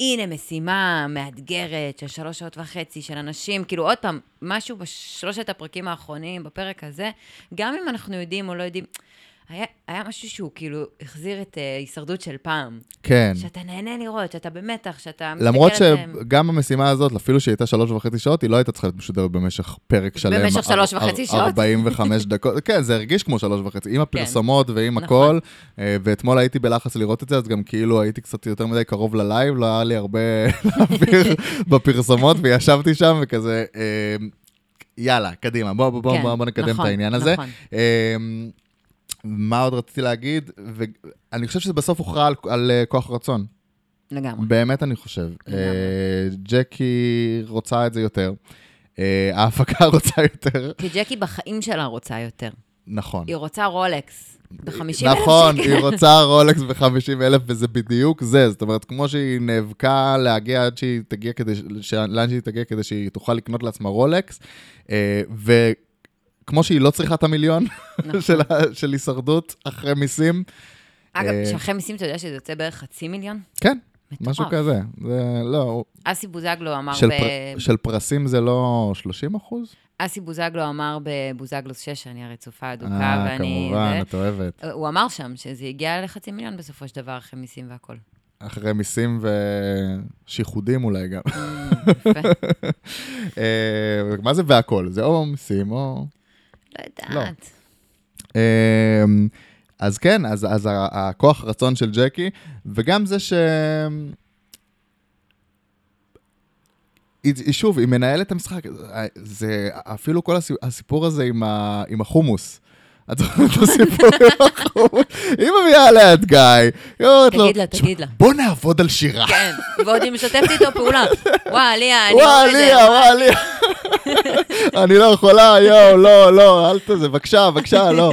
S3: הנה משימה מאתגרת של שלוש שעות וחצי, של אנשים, כאילו, עוד פעם, משהו בשלושת הפרקים האחרונים, בפרק הזה, גם אם אנחנו יודעים או לא יודעים, היה, היה משהו שהוא כאילו החזיר את אה, הישרדות של פעם.
S2: כן.
S3: שאתה נהנה לראות, שאתה במתח, שאתה מסתכל
S2: למרות
S3: עליהם.
S2: שגם המשימה הזאת, אפילו שהיא הייתה שלוש וחצי שעות, היא לא הייתה צריכה להיות משודרת במשך פרק שלם.
S3: במשך
S2: אר-
S3: שלוש
S2: אר-
S3: וחצי שעות? [LAUGHS] כן.
S2: 45 דקות. כן, זה הרגיש כמו שלוש וחצי, עם הפרסומות ועם
S3: נכון.
S2: הכל. אה, ואתמול הייתי בלחץ לראות את זה, אז גם כאילו הייתי קצת יותר מדי קרוב ללייב, לא היה לי הרבה [LAUGHS]
S3: [LAUGHS]
S2: להעביר בפרסומות, וישבתי שם וכזה, אה, יאללה, קדימה, בוא, בוא, בוא,
S3: כן,
S2: בוא, בוא נקדם
S3: נכון,
S2: את העניין הזה.
S3: נכון.
S2: אמ, מה עוד רציתי להגיד? ואני חושב שבסוף הוכרע על, על אה, כוח רצון.
S3: לגמרי.
S2: באמת אני חושב.
S3: לגמרי.
S2: אה, ג'קי רוצה את זה יותר. אה, ההפקה [LAUGHS] רוצה יותר.
S3: כי ג'קי בחיים שלה רוצה יותר.
S2: נכון.
S3: היא רוצה רולקס ב-50 אלף
S2: נכון,
S3: שקל.
S2: היא רוצה רולקס ב-50 אלף, וזה בדיוק זה. זאת אומרת, כמו שהיא נאבקה להגיע עד שהיא תגיע כדי, ש- ש- לאן שהיא תגיע כדי שהיא תוכל לקנות לעצמה רולקס, אה, וכמו שהיא לא צריכה את המיליון [LAUGHS]
S3: נכון.
S2: של ה- של הישרדות אחרי מיסים,
S3: אגב,
S2: אה,
S3: שאחרי מיסים אתה יודע שזה יוצא בערך חצי מיליון?
S2: כן,
S3: מטורף.
S2: משהו כזה. זה לא,
S3: אסי בוזגלו אמר
S2: של
S3: אה. ב...
S2: פר- של פרסים זה לא 30 אחוז?
S3: אסי בוזגלו אמר בבוזגלוס 6, שאני הרי צופה אדוקה,
S2: אה,
S3: ואני...
S2: כמובן,
S3: זה-
S2: את אוהבת.
S3: הוא אמר שם שזה הגיע לחצי מיליון בסופו של דבר, אחרי מיסים
S2: [LAUGHS]
S3: והכול.
S2: אחרי מיסים ושיחודים אולי גם. [LAUGHS]
S3: יפה.
S2: אה, מה זה והכל? זה או מיסים או...
S3: לא
S2: לא.
S3: יודעת.
S2: אה, אז כן, אז, אז ה- הכוח רצון של ג'קי, וגם זה ש... היא- היא- שוב, היא מנהלת את המשחק, אה, זה אפילו כל הסי- הסיפור הזה עם, ה, עם החומוס. את זוכרת את הסיפור עם החומוס? היא מביאה עליה את גיא, היא אומרת לו,
S3: תגיד לה, תגיד לה.
S2: בוא נעבוד על שירה.
S3: כן, ועוד היא משתפת איתו
S2: [LAUGHS]
S3: פעולה. וואה, ליה, אני לא
S2: וואי,
S3: עובדת.
S2: ליה, וואי, ליה.
S3: [LAUGHS]
S2: אני לא יכולה, יואו, לא, לא, אל תזה, בבקשה, בבקשה,
S3: [LAUGHS]
S2: לא.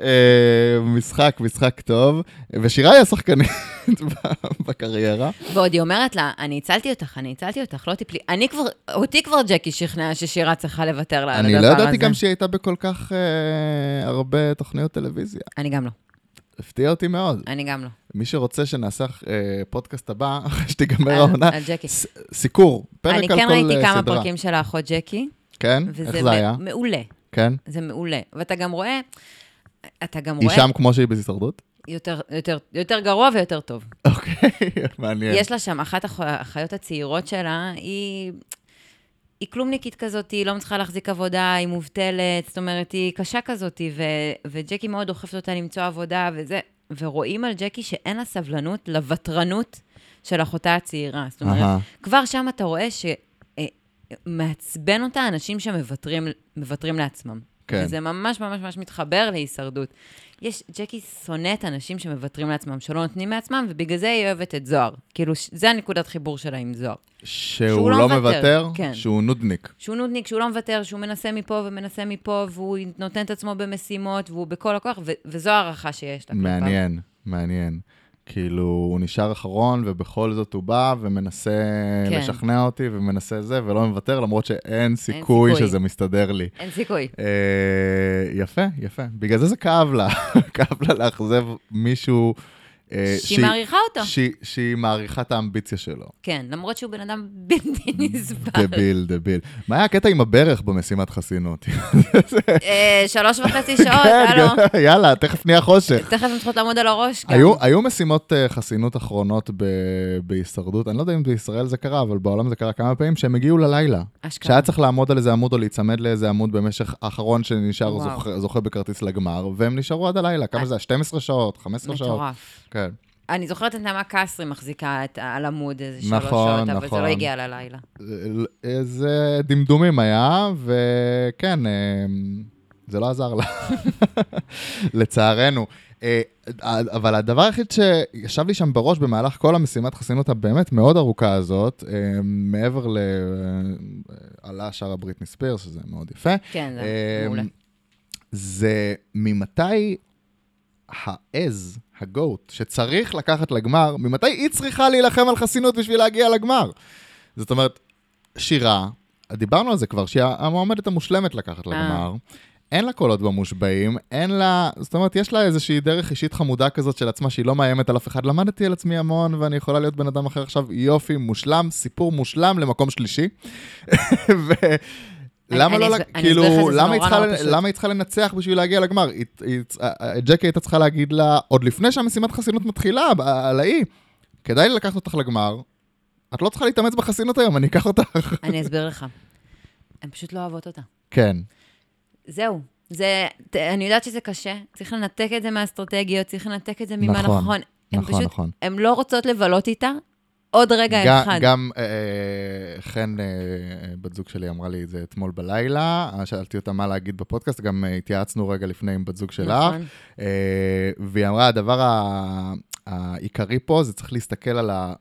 S2: אה, משחק, משחק טוב, ושירה היא השחקנית [LAUGHS] ב- בקריירה.
S3: ועוד היא אומרת לה, אני הצלתי אותך, אני הצלתי אותך, לא תיפלי. אני כבר, אותי כבר ג'קי שכנעה ששירה צריכה לוותר לה על
S2: אני
S3: הדבר הזה.
S2: לא ידעתי גם שהיא הייתה בכל כך אה, הרבה תוכניות טלוויזיה.
S3: אני גם לא,
S2: הפתיע אותי מאוד.
S3: אני גם לא.
S2: מי שרוצה שנעשה אה, פודקאסט הבא, [LAUGHS] אחרי שתיגמר
S3: על-
S2: העונה,
S3: על ג'קי.
S2: ס- סיקור, פרק על
S3: אה, אוקיי. אני
S2: כל אה, סדרה.
S3: כן ראיתי כמה פרקים של האחות ג'קי,
S2: כן? איך
S3: וזה
S2: זה היה?
S3: מ- מעולה,
S2: כן?
S3: זה מעולה. ואתה גם רואה, אתה גם
S2: היא
S3: רואה
S2: שם כמו שהיא בהישרדות? [LAUGHS]
S3: יותר- יותר- יותר גרוע ויותר טוב.
S2: אוקיי, [LAUGHS] מעניין.
S3: יש לה שם, אחת האח- האחיות הצעירות שלה, היא... היא כלומניקית כזאת, היא לא מצליחה להחזיק עבודה, היא מובטלת, זאת אומרת, היא קשה כזאת, ו... וג'קי מאוד דוחפת אותה למצוא עבודה וזה. ורואים על ג'קי שאין לה סבלנות לוותרנות של אחותה הצעירה. זאת אומרת,
S2: אהה.
S3: כבר שם אתה רואה שמעצבן אותה אנשים שמוותרים מוותרים לעצמם.
S2: כן.
S3: וזה ממש ממש ממש מתחבר להישרדות. יש, ג'קי שונאת אנשים שמוותרים לעצמם, שלא נותנים מעצמם, ובגלל זה היא אוהבת את זוהר. כאילו, ש- זה הנקודת חיבור שלה עם זוהר.
S2: שהוא לא מוותר,
S3: כן.
S2: שהוא נודניק.
S3: שהוא נודניק, שהוא לא מוותר, שהוא מנסה מפה ומנסה מפה, והוא נותן את עצמו במשימות, והוא בכל הכוח, ו- וזו הערכה שיש לה. כאילו, כלפיו.
S2: מעניין, מעניין. כאילו, הוא נשאר אחרון, ובכל זאת הוא בא ומנסה
S3: כן.
S2: לשכנע אותי, ומנסה זה, ולא מוותר, למרות שאין סיכוי
S3: סיכוי.
S2: שזה מסתדר לי.
S3: אין סיכוי.
S2: אה, יפה, יפה. בגלל זה זה כאב לה. [LAUGHS] כאב לה לאכזב מישהו... אה,
S3: שהיא מעריכה אותו.
S2: שהיא- שהיא מעריכה את האמביציה
S3: [LAUGHS]
S2: שלו.
S3: כן, למרות שהוא בן אדם בלתי נסבל.
S2: דביל, דביל. מה היה הקטע עם הברך במשימת חסינות?
S3: אה, שלוש וחצי שעות,
S2: [LAUGHS] כן,
S3: הלו.
S2: יאללה, תכף נהיה חושך.
S3: תכף הן צריכות לעמוד על הראש גם.
S2: היו, היו משימות אה, חסינות אחרונות ב, בהישרדות, אני לא יודע אם בישראל זה קרה, אבל בעולם זה קרה כמה פעמים, שהם הגיעו ללילה.
S3: אשכרה.
S2: שהיה צריך לעמוד על איזה עמוד או להיצמד לאיזה עמוד במשך האחרון שנשאר
S3: וואו.
S2: זוכה, זוכה בכרטיס לגמר, והם נשארו עד הלילה. כמה
S3: אה.
S2: זה היה? 12 שעות? 15 שעות?
S3: מטורף.
S2: כן.
S3: אני זוכרת את נעמה קסרי מחזיקה את, על עמוד איזה שלוש
S2: נכון,
S3: שעות, אבל זה
S2: נכון.
S3: לא הגיע ללילה.
S2: אה, זה דמדומים היה, וכן, אה, זה לא עזר לה, לצערנו. אה, אבל הדבר היחיד שישב לי שם בראש במהלך כל המשימת חסינות הבאמת מאוד ארוכה הזאת, אה, מעבר ל... אה, עלה שרה בריטני ספירס, שזה מאוד יפה,
S3: כן, זה
S2: אה, [LAUGHS]
S3: מעולה.
S2: זה ממתי העז, הגוט, שצריך לקחת לגמר, ממתי היא צריכה להילחם על חסינות בשביל להגיע לגמר? זאת אומרת, שירה, דיברנו על זה כבר, שהיא המועמדת המושלמת
S3: אה.
S2: לקחת לגמר. אין לה קולות במושבעים, אין לה... זאת אומרת, יש לה איזושהי דרך אישית חמודה כזאת של עצמה, שהיא לא מאיימת על אף אחד. למדתי על עצמי המון, ואני יכולה להיות בן אדם אחר עכשיו. יופי, מושלם, סיפור מושלם למקום שלישי. [LAUGHS] ו... למה
S3: אני
S2: לא,
S3: אסב-
S2: לה-
S3: אני אסביר לך,
S2: כאילו,
S3: זה
S2: למה היא
S3: נורא
S2: צריכה
S3: נורא
S2: לנ-
S3: פשוט.
S2: למה היא צריכה לנצח בשביל להגיע לגמר? היא- היא- אה, ג'קי הייתה צריכה להגיד לה, עוד לפני שהמשימת חסינות מתחילה, ב- אה, על האי, כדאי לי לקחת אותך לגמר, את לא צריכה להתאמץ בחסינות היום, אני אקח אותך.
S3: אני אסביר לך. הן פשוט לא אוהבות אותה.
S2: [LAUGHS] כן,
S3: זהו. זה, ת- אני יודעת שזה קשה, צריך לנתק את זה מהאסטרטגיות, צריך לנתק את זה
S2: נכון,
S3: ממה נכון. נכון, הן
S2: נכון,
S3: פשוט,
S2: נכון.
S3: הן לא רוצות לבלות איתה עוד רגע
S2: גם-
S3: אחד.
S2: גם אה, חן, אה, בת זוג שלי, אמרה לי את זה אתמול בלילה, אה, שאלתי אותה מה להגיד בפודקאסט, גם אה, התייעצנו רגע לפני עם בת זוג שלך,
S3: נכון.
S2: אה, והיא אמרה, הדבר ה- העיקרי פה זה צריך להסתכל על ה...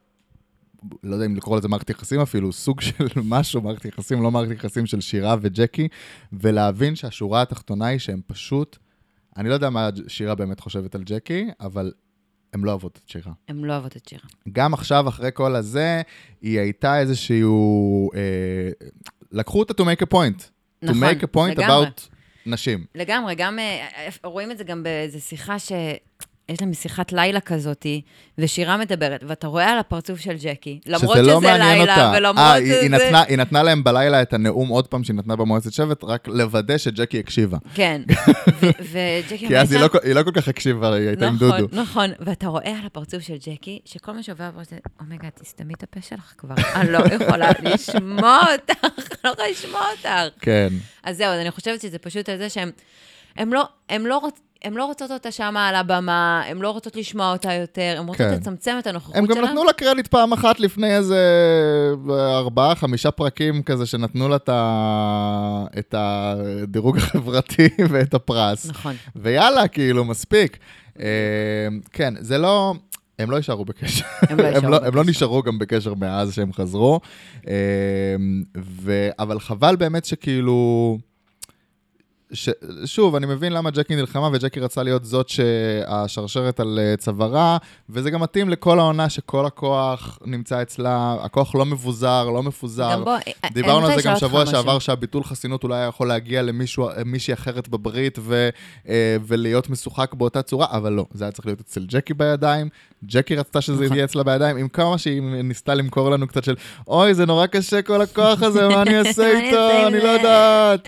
S2: לא יודע אם לקרוא לזה מערכת יחסים אפילו, סוג של [LAUGHS] משהו, מערכת יחסים, לא מערכת יחסים של שירה וג'קי, ולהבין שהשורה התחתונה היא שהם פשוט... אני לא יודע מה שירה באמת חושבת על ג'קי, אבל הם לא אוהבות את שירה.
S3: הן לא אוהבות את שירה.
S2: גם עכשיו, אחרי כל הזה, היא הייתה איזשהו... אה, לקחו אותה to make a point.
S3: נכון,
S2: to make a point
S3: לגמרי.
S2: about נשים.
S3: לגמרי, גם אה, אה, רואים את זה גם באיזו שיחה ש... יש להם שיחת לילה כזאתי, ושירה מדברת, ואתה רואה על הפרצוף של ג'קי, למרות שזה,
S2: לא מעניין
S3: לילה,
S2: אותה.
S3: ולמרות
S2: אה,
S3: שזה...
S2: היא, היא, נתנה, היא נתנה להם בלילה את הנאום עוד פעם שהיא נתנה במועצת שבט, רק לוודא שג'קי הקשיבה. [LAUGHS]
S3: כן, ו- וג'קי
S2: כי אז היא
S3: שם-
S2: לא, כל- היא לא כל כך הקשיבה, היא הייתה עם דודו.
S3: כן, נכון, נכון, ואתה רואה על הפרצוף של ג'קי, שכל מה שעובר בו זה, אומייגאד, תסתמי את הפה שלך כבר, אני לא יכולה לשמוע אותך, [LAUGHS] אני לא יכולה לשמוע אותך.
S2: כן,
S3: אז זהו, אז אני חושבת שזה פשוט על זה שהם, הם לא, הם לא רוצ... הן לא רוצות אותה שמה על הבמה, הן לא רוצות לשמוע אותה יותר, הן רוצות
S2: כן.
S3: לצמצם את הנוכחות שלה.
S2: הם גם נתנו לה קרדיט פעם אחת לפני איזה אה, ארבעה, חמישה פרקים כזה, שנתנו לה את ה- את הדירוג החברתי [LAUGHS] ואת הפרס. [LAUGHS]
S3: נכון.
S2: ויאללה, כאילו, מספיק. אה, כן, זה לא... הם לא יישארו בקשר.
S3: הם לא יישארו
S2: הם לא- הם לא
S3: בקשר.
S2: נשארו גם בקשר מאז שהם חזרו. אה, ו... אבל חבל באמת שכאילו... ש... שוב, אני מבין למה ג'קי נלחמה, וג'קי רצה להיות זאת שהשרשרת על אה, צווארה, וזה גם מתאים לכל העונה שכל הכוח נמצא אצלה, הכוח לא מבוזר, לא מפוזר.
S3: גם בוא, אה, אה, אני
S2: דיברנו
S3: רוצה
S2: על זה גם
S3: לשאול אותך
S2: שבוע
S3: משהו.
S2: שעבר, שהביטול חסינות אולי היה יכול להגיע למישהי אחרת בברית ו, אה, ולהיות משוחק באותה צורה, אבל לא, זה היה צריך להיות אצל ג'קי בידיים, ג'קי רצתה שזה
S3: נכון.
S2: יהיה אצלה בידיים, עם כמה שהיא ניסתה למכור לנו קצת של, אוי, זה נורא קשה כל הכוח הזה, מה
S3: [LAUGHS]
S2: אני
S3: מה
S2: אעשה
S3: אני אעשה
S2: איתו,
S3: עם
S2: אני לא
S3: זה?"
S2: יודעת.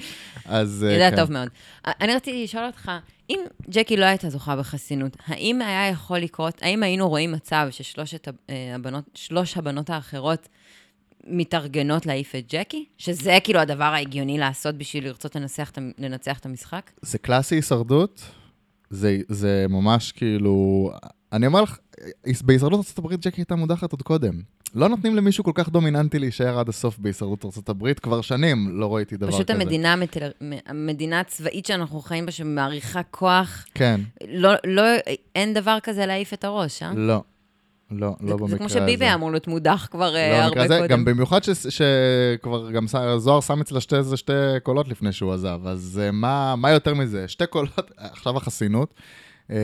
S2: אז... אה,
S3: אתה יודע
S2: כן.
S3: טוב מאוד. א- אני רציתי לשאול אותך, אם ג'קי לא הייתה זוכה בחסינות, האם היה יכול לקרות, האם היינו רואים מצב ששלושת ה- אה, הבנות, שלוש הבנות האחרות מתארגנות להעיף את ג'קי? שזה כאילו הדבר ההגיוני לעשות בשביל לרצות לנצח, את המ- לנצח את המשחק?
S2: זה קלאסי הישרדות, זה, זה ממש כאילו... אני אומר לך, בהישרדות ארה"ב ג'קי הייתה מודחת עוד קודם. לא נותנים למישהו כל כך דומיננטי להישאר עד הסוף בהישרדות ארה"ב, כבר שנים לא ראיתי דבר
S3: פשוט
S2: כזה.
S3: המדינה, המטל... המדינה הצבאית שאנחנו חיים בה, שמעריכה כוח,
S2: כן,
S3: לא, לא, אין דבר כזה להעיף את הראש, אה?
S2: לא. לא, לא במקרה הזה.
S3: זה כמו שביבי היה אמור להיות מודח כבר
S2: לא
S3: אה,
S2: במקרה
S3: הרבה
S2: הזה,
S3: קודם.
S2: גם במיוחד ש- שכבר גם ש- זוהר שם אצלה שתי, איזה שתי קולות לפני שהוא עזב, אז אה, מה, מה יותר מזה? שתי קולות, עכשיו החסינות. אה,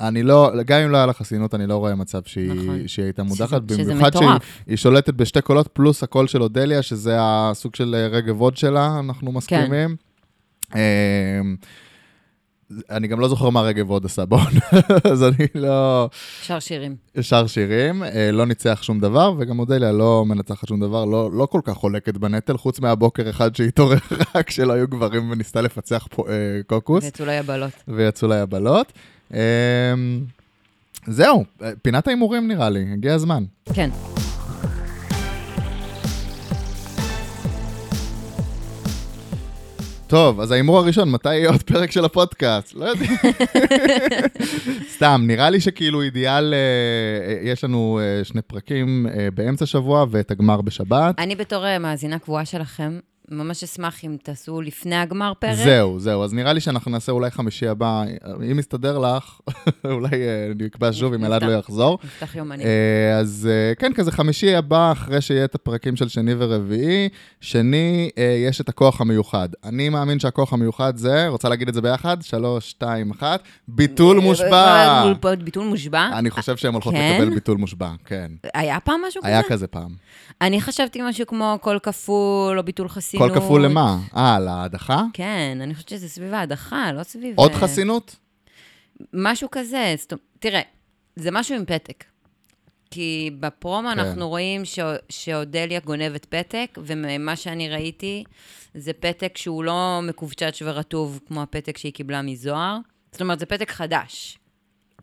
S2: אני לא, גם אם לא היה לה חסינות, אני לא רואה מצב שהיא,
S3: נכון.
S2: שהיא הייתה
S3: שזה-
S2: מודחת,
S3: שזה
S2: במיוחד שהיא
S3: מטורף.
S2: היא שולטת בשתי קולות פלוס הקול של אודליה, שזה הסוג של אה, רגב הוד שלה, אנחנו
S3: כן.
S2: מסכימים. אה, אני גם לא זוכר מה רגב הוד עשה בעונה, [LAUGHS] אז אני לא...
S3: שר שירים.
S2: שר שירים, אה, לא ניצח שום דבר, וגם אודליה לא מנצחת שום דבר, לא, לא כל כך חולקת בנטל, חוץ מהבוקר אחד שהתעורר [LAUGHS] רק כשלא היו גברים וניסתה לפצח פה, אה, קוקוס,
S3: ויצאו לי הבלות.
S2: ויצאו לה יבלות. אה, זהו, אה, פינת ההימורים נראה לי, הגיע הזמן.
S3: כן.
S2: טוב, אז ההימור הראשון, מתי יהיה עוד פרק של הפודקאסט? לא יודע. סתם, נראה לי שכאילו אידיאל, אה, אה, יש לנו אה, שני פרקים אה, באמצע שבוע ואת הגמר בשבת.
S3: אני בתור אה, מאזינה קבועה שלכם, ממש אשמח אם תעשו לפני הגמר פרק.
S2: זהו, זהו. אז נראה לי שאנחנו נעשה אולי חמישי הבא, אם יסתדר לך, [LAUGHS] אולי אה, נקבע שוב אם אלעד לא יחזור.
S3: נפתח יומנים.
S2: אה, אז אה, כן, כזה חמישי הבא, אחרי שיהיה את הפרקים של שני ורביעי. שני, אה, יש את הכוח המיוחד. אני מאמין שהכוח המיוחד זה, רוצה להגיד את זה ביחד? שלוש, שתיים, אחת,
S3: אה,
S2: ביטול מושבע.
S3: ביטול מושבע?
S2: אני חושב שהן הולכות
S3: כן? אה,
S2: לקבל ביטול מושבע, כן.
S3: היה פעם משהו כזה?
S2: היה כזה פעם.
S3: אני חשבתי משהו כמו קול כפול או ביטול
S2: כל
S3: חסינות.
S2: כפול למה? אה, להדחה?
S3: כן, אני חושבת שזה סביב ההדחה, לא סביב...
S2: עוד
S3: אה,
S2: חסינות?
S3: משהו כזה. זאת... אומרת, תראה, זה משהו עם פתק. כי בפרומו
S2: כן.
S3: כן. אנחנו רואים ש... שאודליה גונבת פתק, ומה שאני ראיתי זה פתק שהוא לא מקובצ'ץ' ורטוב כמו הפתק שהיא קיבלה מזוהר. זאת אומרת, זה פתק חדש.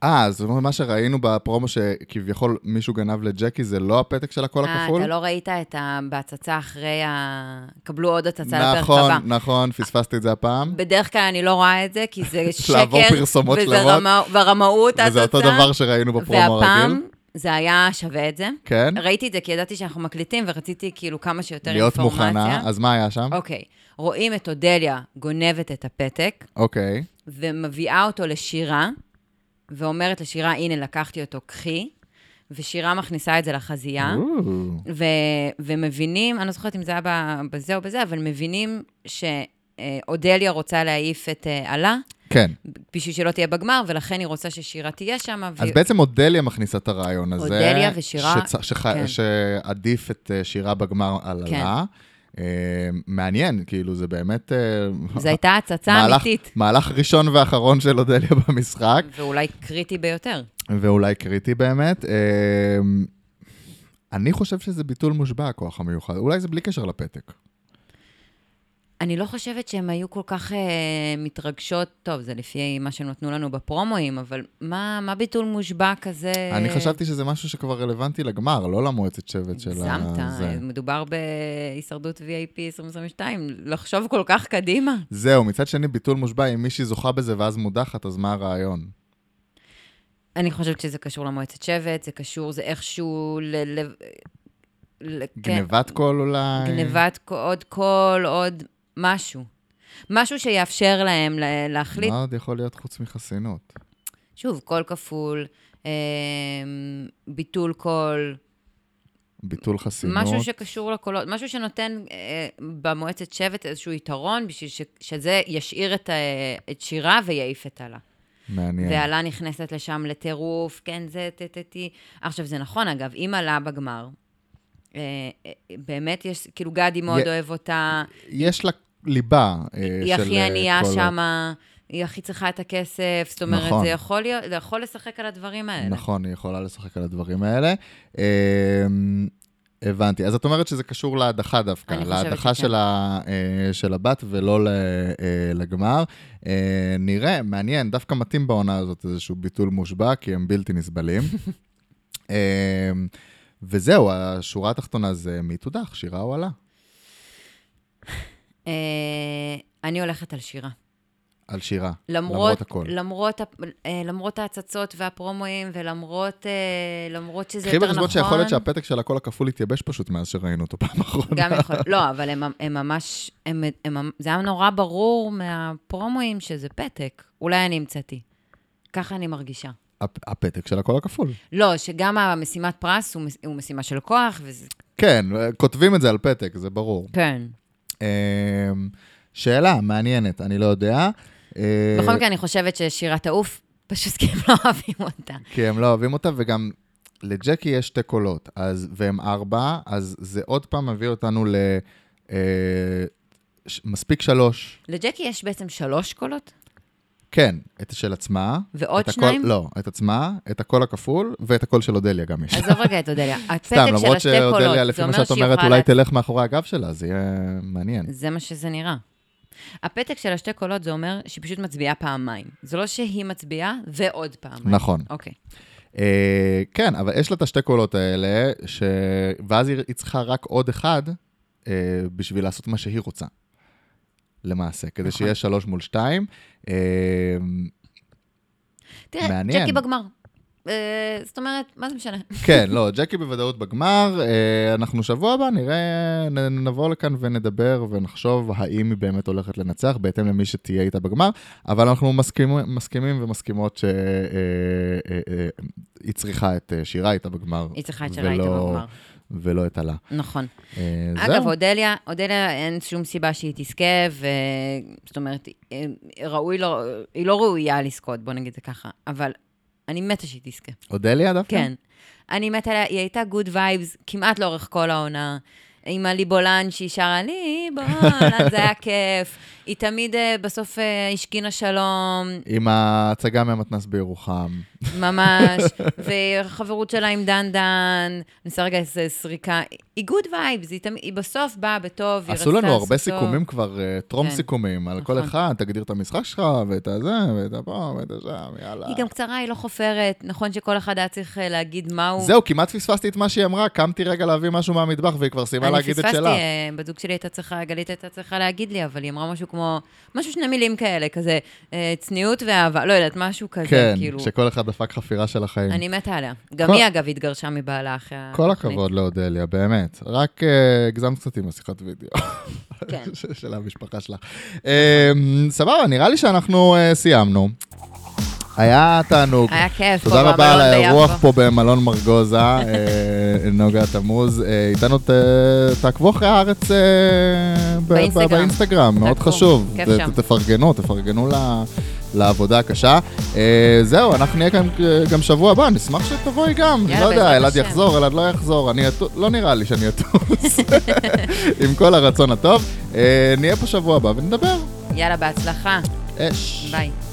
S2: אה, זאת אומרת, מה שראינו בפרומו שכביכול מישהו גנב לג'קי, זה לא הפתק של הכל
S3: אה,
S2: הכפול?
S3: אתה לא ראית את ה... בהצצה אחרי ה... קבלו עוד הצצה לפרק
S2: נכון,
S3: הבא.
S2: נכון, פספסתי את זה הפעם.
S3: בדרך כלל אני לא רואה את זה, כי זה
S2: [LAUGHS]
S3: שקר,
S2: לעבור פרסומות
S3: וזה
S2: שלמות.
S3: רמה- ורמאות ההצצה.
S2: וזה אותו דבר שראינו בפרומו
S3: והפעם
S2: הרגיל.
S3: זה היה שווה את זה.
S2: כן?
S3: ראיתי את זה כי ידעתי שאנחנו מקליטים ורציתי כאילו כמה שיותר
S2: להיות
S3: אינפורמציה.
S2: מוכנה, אז מה היה שם?
S3: אוקיי, רואים את אודליה גונבת את הפתק
S2: אוקיי.
S3: ומביאה אותו לשירה, ואומרת לשירה, הנה, לקחתי אותו, קחי, ושירה מכניסה את זה לחזייה.
S2: אוו.
S3: ו, ומבינים, אני לא זוכרת אם זה היה ב- בזה או בזה, אבל מבינים שאודליה רוצה להעיף את אה, עלה,
S2: כן.
S3: בשביל שלא תהיה בגמר, ולכן היא רוצה ששירה תהיה שם.
S2: אז בעצם אודליה מכניסה את הרעיון הזה.
S3: אודליה ושירה,
S2: שצ- שח-
S3: כן.
S2: שעדיף את אה, שירה בגמר על
S3: כן.
S2: עלה. אה, מעניין, כאילו, זה באמת... אה,
S3: זו הייתה הצצה
S2: מהלך-
S3: אמיתית,
S2: מהלך ראשון ואחרון של אודליה במשחק,
S3: ואולי קריטי ביותר.
S2: ואולי קריטי באמת. אה, אני חושב שזה ביטול מושבע, הכוח המיוחד. אולי זה בלי קשר לפתק.
S3: אני לא חושבת שהן היו כל כך אה, מתרגשות, טוב, זה לפי מה שנתנו לנו בפרומואים, אבל מה, מה ביטול מושבע כזה...
S2: אני חשבתי שזה משהו שכבר רלוונטי לגמר, לא למועצת שבט של ה...
S3: הגזמת,
S2: זה.
S3: מדובר בהישרדות VIP 2022, לחשוב כל כך קדימה.
S2: זהו, מצד שני, ביטול מושבע, אם מישהי זוכה בזה ואז מודחת, אז מה הרעיון?
S3: כן. אני חושבת שזה קשור למועצת שבט, זה קשור, זה איכשהו ל... ל... ל... כן,
S2: גנבת קול אולי?
S3: גנבת ק- עוד קול, עוד משהו. משהו שיאפשר להם לה- להחליט,
S2: מה עוד יכול להיות חוץ מחסינות?
S3: שוב, קול כפול, אה, ביטול קול,
S2: ביטול חסינות?
S3: משהו שקשור לקולות, משהו שנותן אה, במועצת שבט איזשהו יתרון, בשביל ש, שזה ישאיר את, ה, את שירה ויעיף את עלה.
S2: מעניין.
S3: ועלה נכנסת לשם לטירוף, כן, זה טטטי. עכשיו, זה נכון, אגב, אם עלה בגמר, אה, אה, באמת יש, כאילו, גדי מאוד
S2: י-
S3: אוהב אותה,
S2: יש לה ליבה אה, של אה,
S3: היא הכי ענייה
S2: קולות.
S3: שמה, היא הכי צריכה את הכסף, זאת אומרת,
S2: נכון.
S3: זה יכול להיות, זה יכול לשחק על הדברים האלה.
S2: נכון, היא יכולה לשחק על הדברים האלה. אמ, הבנתי. אז את אומרת שזה קשור להדחה דווקא,
S3: אני חושבת
S2: להדחה
S3: שכן.
S2: של, ה, אה, של הבת ולא ל, אה, לגמר. אה, נראה, מעניין, דווקא מתאים בעונה הזאת איזשהו ביטול מושבע, כי הם בלתי
S3: [LAUGHS]
S2: נסבלים. אמ, וזהו, השורה התחתונה זה מי תודח, שירה או עלה?
S3: אה, אני הולכת על שירה.
S2: על שירה.
S3: למרות,
S2: למרות
S3: לא,
S2: הכל.
S3: למרות, ה- אה, למרות ההצצות והפרומואים, ולמרות אה, למרות שזה
S2: קחי
S3: יותר
S2: בחשבון
S3: נכון.
S2: שיכול להיות שהפתק של הקול הכפול התייבש פשוט מאז שראינו אותו פעם אחרונה.
S3: גם יכול, לא, אבל הם, הם ממש, הם, הם, זה היה נורא ברור מהפרומואים שזה פתק. אולי אני המצאתי. ככה אני מרגישה.
S2: הפ- הפתק של הקול הכפול.
S3: לא, שגם המשימת פרס הוא, מש- הוא משימה של כוח, וזה...
S2: כן, כותבים את זה על פתק, זה ברור.
S3: כן.
S2: אמ, שאלה מעניינת, אני לא יודע. אה,
S3: בכל מקרה, אני חושבת ששירה תעוף, פשוט כי הם לא אוהבים אותה.
S2: כי הם לא אוהבים אותה, וגם לג'קי יש שתי קולות, אז, והם ארבע, אז זה עוד פעם מביא אותנו ל... אה, ש- מספיק שלוש.
S3: לג'קי יש בעצם שלוש קולות,
S2: כן, את של עצמה.
S3: ועוד
S2: את הקול-
S3: שניים?
S2: לא, את עצמה, את הקול הכפול, ואת הקול של אודליה גם יש.
S3: עזוב רגע את אודליה. הפתק
S2: סתם,
S3: של
S2: למרות
S3: השתי
S2: שאודליה,
S3: קולות,
S2: לפי
S3: זה
S2: מה
S3: אומר
S2: שאת
S3: שהיא
S2: אומרת,
S3: יכולה
S2: אולי תלך מאחורי הגב שלה, זה יהיה מעניין.
S3: זה מה שזה נראה. הפתק של השתי קולות זה אומר שהיא פשוט מצביעה פעמיים. זה לא שהיא מצביעה ועוד פעמיים.
S2: נכון.
S3: אוקיי.
S2: אה, כן, אבל יש לה את השתי קולות האלה, ש... ואז היא היא צריכה רק עוד אחד אה, בשביל לעשות מה שהיא רוצה, למעשה, כדי
S3: נכון.
S2: שיהיה שלוש מול שתיים. אה,
S3: תראה,
S2: מעניין.
S3: ג'קי בגמר. אה, זאת אומרת, מה זה משנה?
S2: כן, לא, ג'קי בוודאות בגמר. אה, אנחנו שבוע הבא נראה, נ- נבוא לכאן ונדבר ונחשוב האם היא באמת הולכת לנצח, בהתאם למי שתהיה איתה בגמר, אבל אנחנו מסכימים, מסכימים ומסכימות שהיא אה, אה, היא צריכה את אה, שירה איתה בגמר.
S3: היא צריכה את שלה איתה
S2: ולא-
S3: בגמר.
S2: ולא את הלה.
S3: נכון.
S2: אה,
S3: אגב, אודליה, אודליה אין שום סיבה שהיא תזכה, ו... זאת אומרת, אה, ראוי לא... היא לא ראויה לזכות, בוא נגיד זה ככה, אבל אני מתה שהיא תזכה.
S2: אודליה דווקא?
S3: כן. אני מתה עליה, היא הייתה גוד וייבס כמעט לאורך כל העונה. עם הליבולן שהיא שרה ליבולן, זה היה כיף. היא תמיד אה, בסוף אה, השכינה שלום,
S2: עם ההצגה מהמתנ"ס בירוחם. [LAUGHS]
S3: ממש, וחברות שלה עם דן דן, אני עושה רגע איזה סריקה, היא גוד וייבס, היא, תמ... היא בסוף באה בטוב, היא
S2: עשו לנו
S3: עשתה
S2: הרבה
S3: סוף טוב.
S2: סיכומים כבר, אה, טרום
S3: כן.
S2: סיכומים, על כל
S3: נכון.
S2: אחד, תגדיר את המשחק שלך, ואת הזה, ואת הפה, ואת השם, יאללה.
S3: היא גם קצרה, היא לא חופרת, נכון שכל אחד היה צריך אה, להגיד מה הוא...
S2: זהו, כמעט פספסתי את מה שהיא אמרה, קמתי רגע להביא משהו מהמטבח, והיא כבר סיימה להגיד את
S3: אני
S2: שלה.
S3: פספסתי, אה, בת זוג שלי הייתה צריכה, גלית הייתה צריכה להגיד לי, אבל היא אמרה משהו כמו, משהו שני מילים כאלה, כזה אה, צניעות ואהבה, לא יודעת, משהו כזה,
S2: כן,
S3: כאילו.
S2: שכל אחד דפק חפירה של החיים.
S3: אני מתה עליה. גם
S2: כל-
S3: היא, אגב, התגרשה מבעלה אחרי
S2: כל
S3: התוכנית.
S2: הכבוד לאודליה, באמת. רק אה, הגזמת קצת עם השיחת וידאו.
S3: כן.
S2: [LAUGHS] של- של המשפחה שלך. אה, סבבה, נראה לי שאנחנו אה, סיימנו. היה תענוג.
S3: היה כיף, פה
S2: תודה רבה
S3: במלון
S2: על האירוח
S3: ביפו.
S2: פה במלון מרגוזה, אה, נוגה תמוז. אה, איתנו, ת- תעקבו אחרי הארץ אה, ב- ב-
S3: באינסטגרם.
S2: באינסטגרם, מאוד
S3: תעקבו,
S2: חשוב.
S3: כיף
S2: ת-
S3: שם.
S2: ת- תפרגנו, תפרגנו ל- לעבודה הקשה. אה, זהו, אנחנו נהיה כאן אה, גם שבוע הבא, נשמח שתבואי גם.
S3: יאללה,
S2: לא יודע,
S3: בעזרת
S2: אלעד
S3: השם.
S2: יחזור, אלעד לא יחזור, אני אטו- לא נראה לי שאני
S3: [LAUGHS]
S2: אטוס. עם כל הרצון הטוב. אה, נהיה פה שבוע הבא ונדבר.
S3: יאללה, בהצלחה.
S2: אש.
S3: ביי.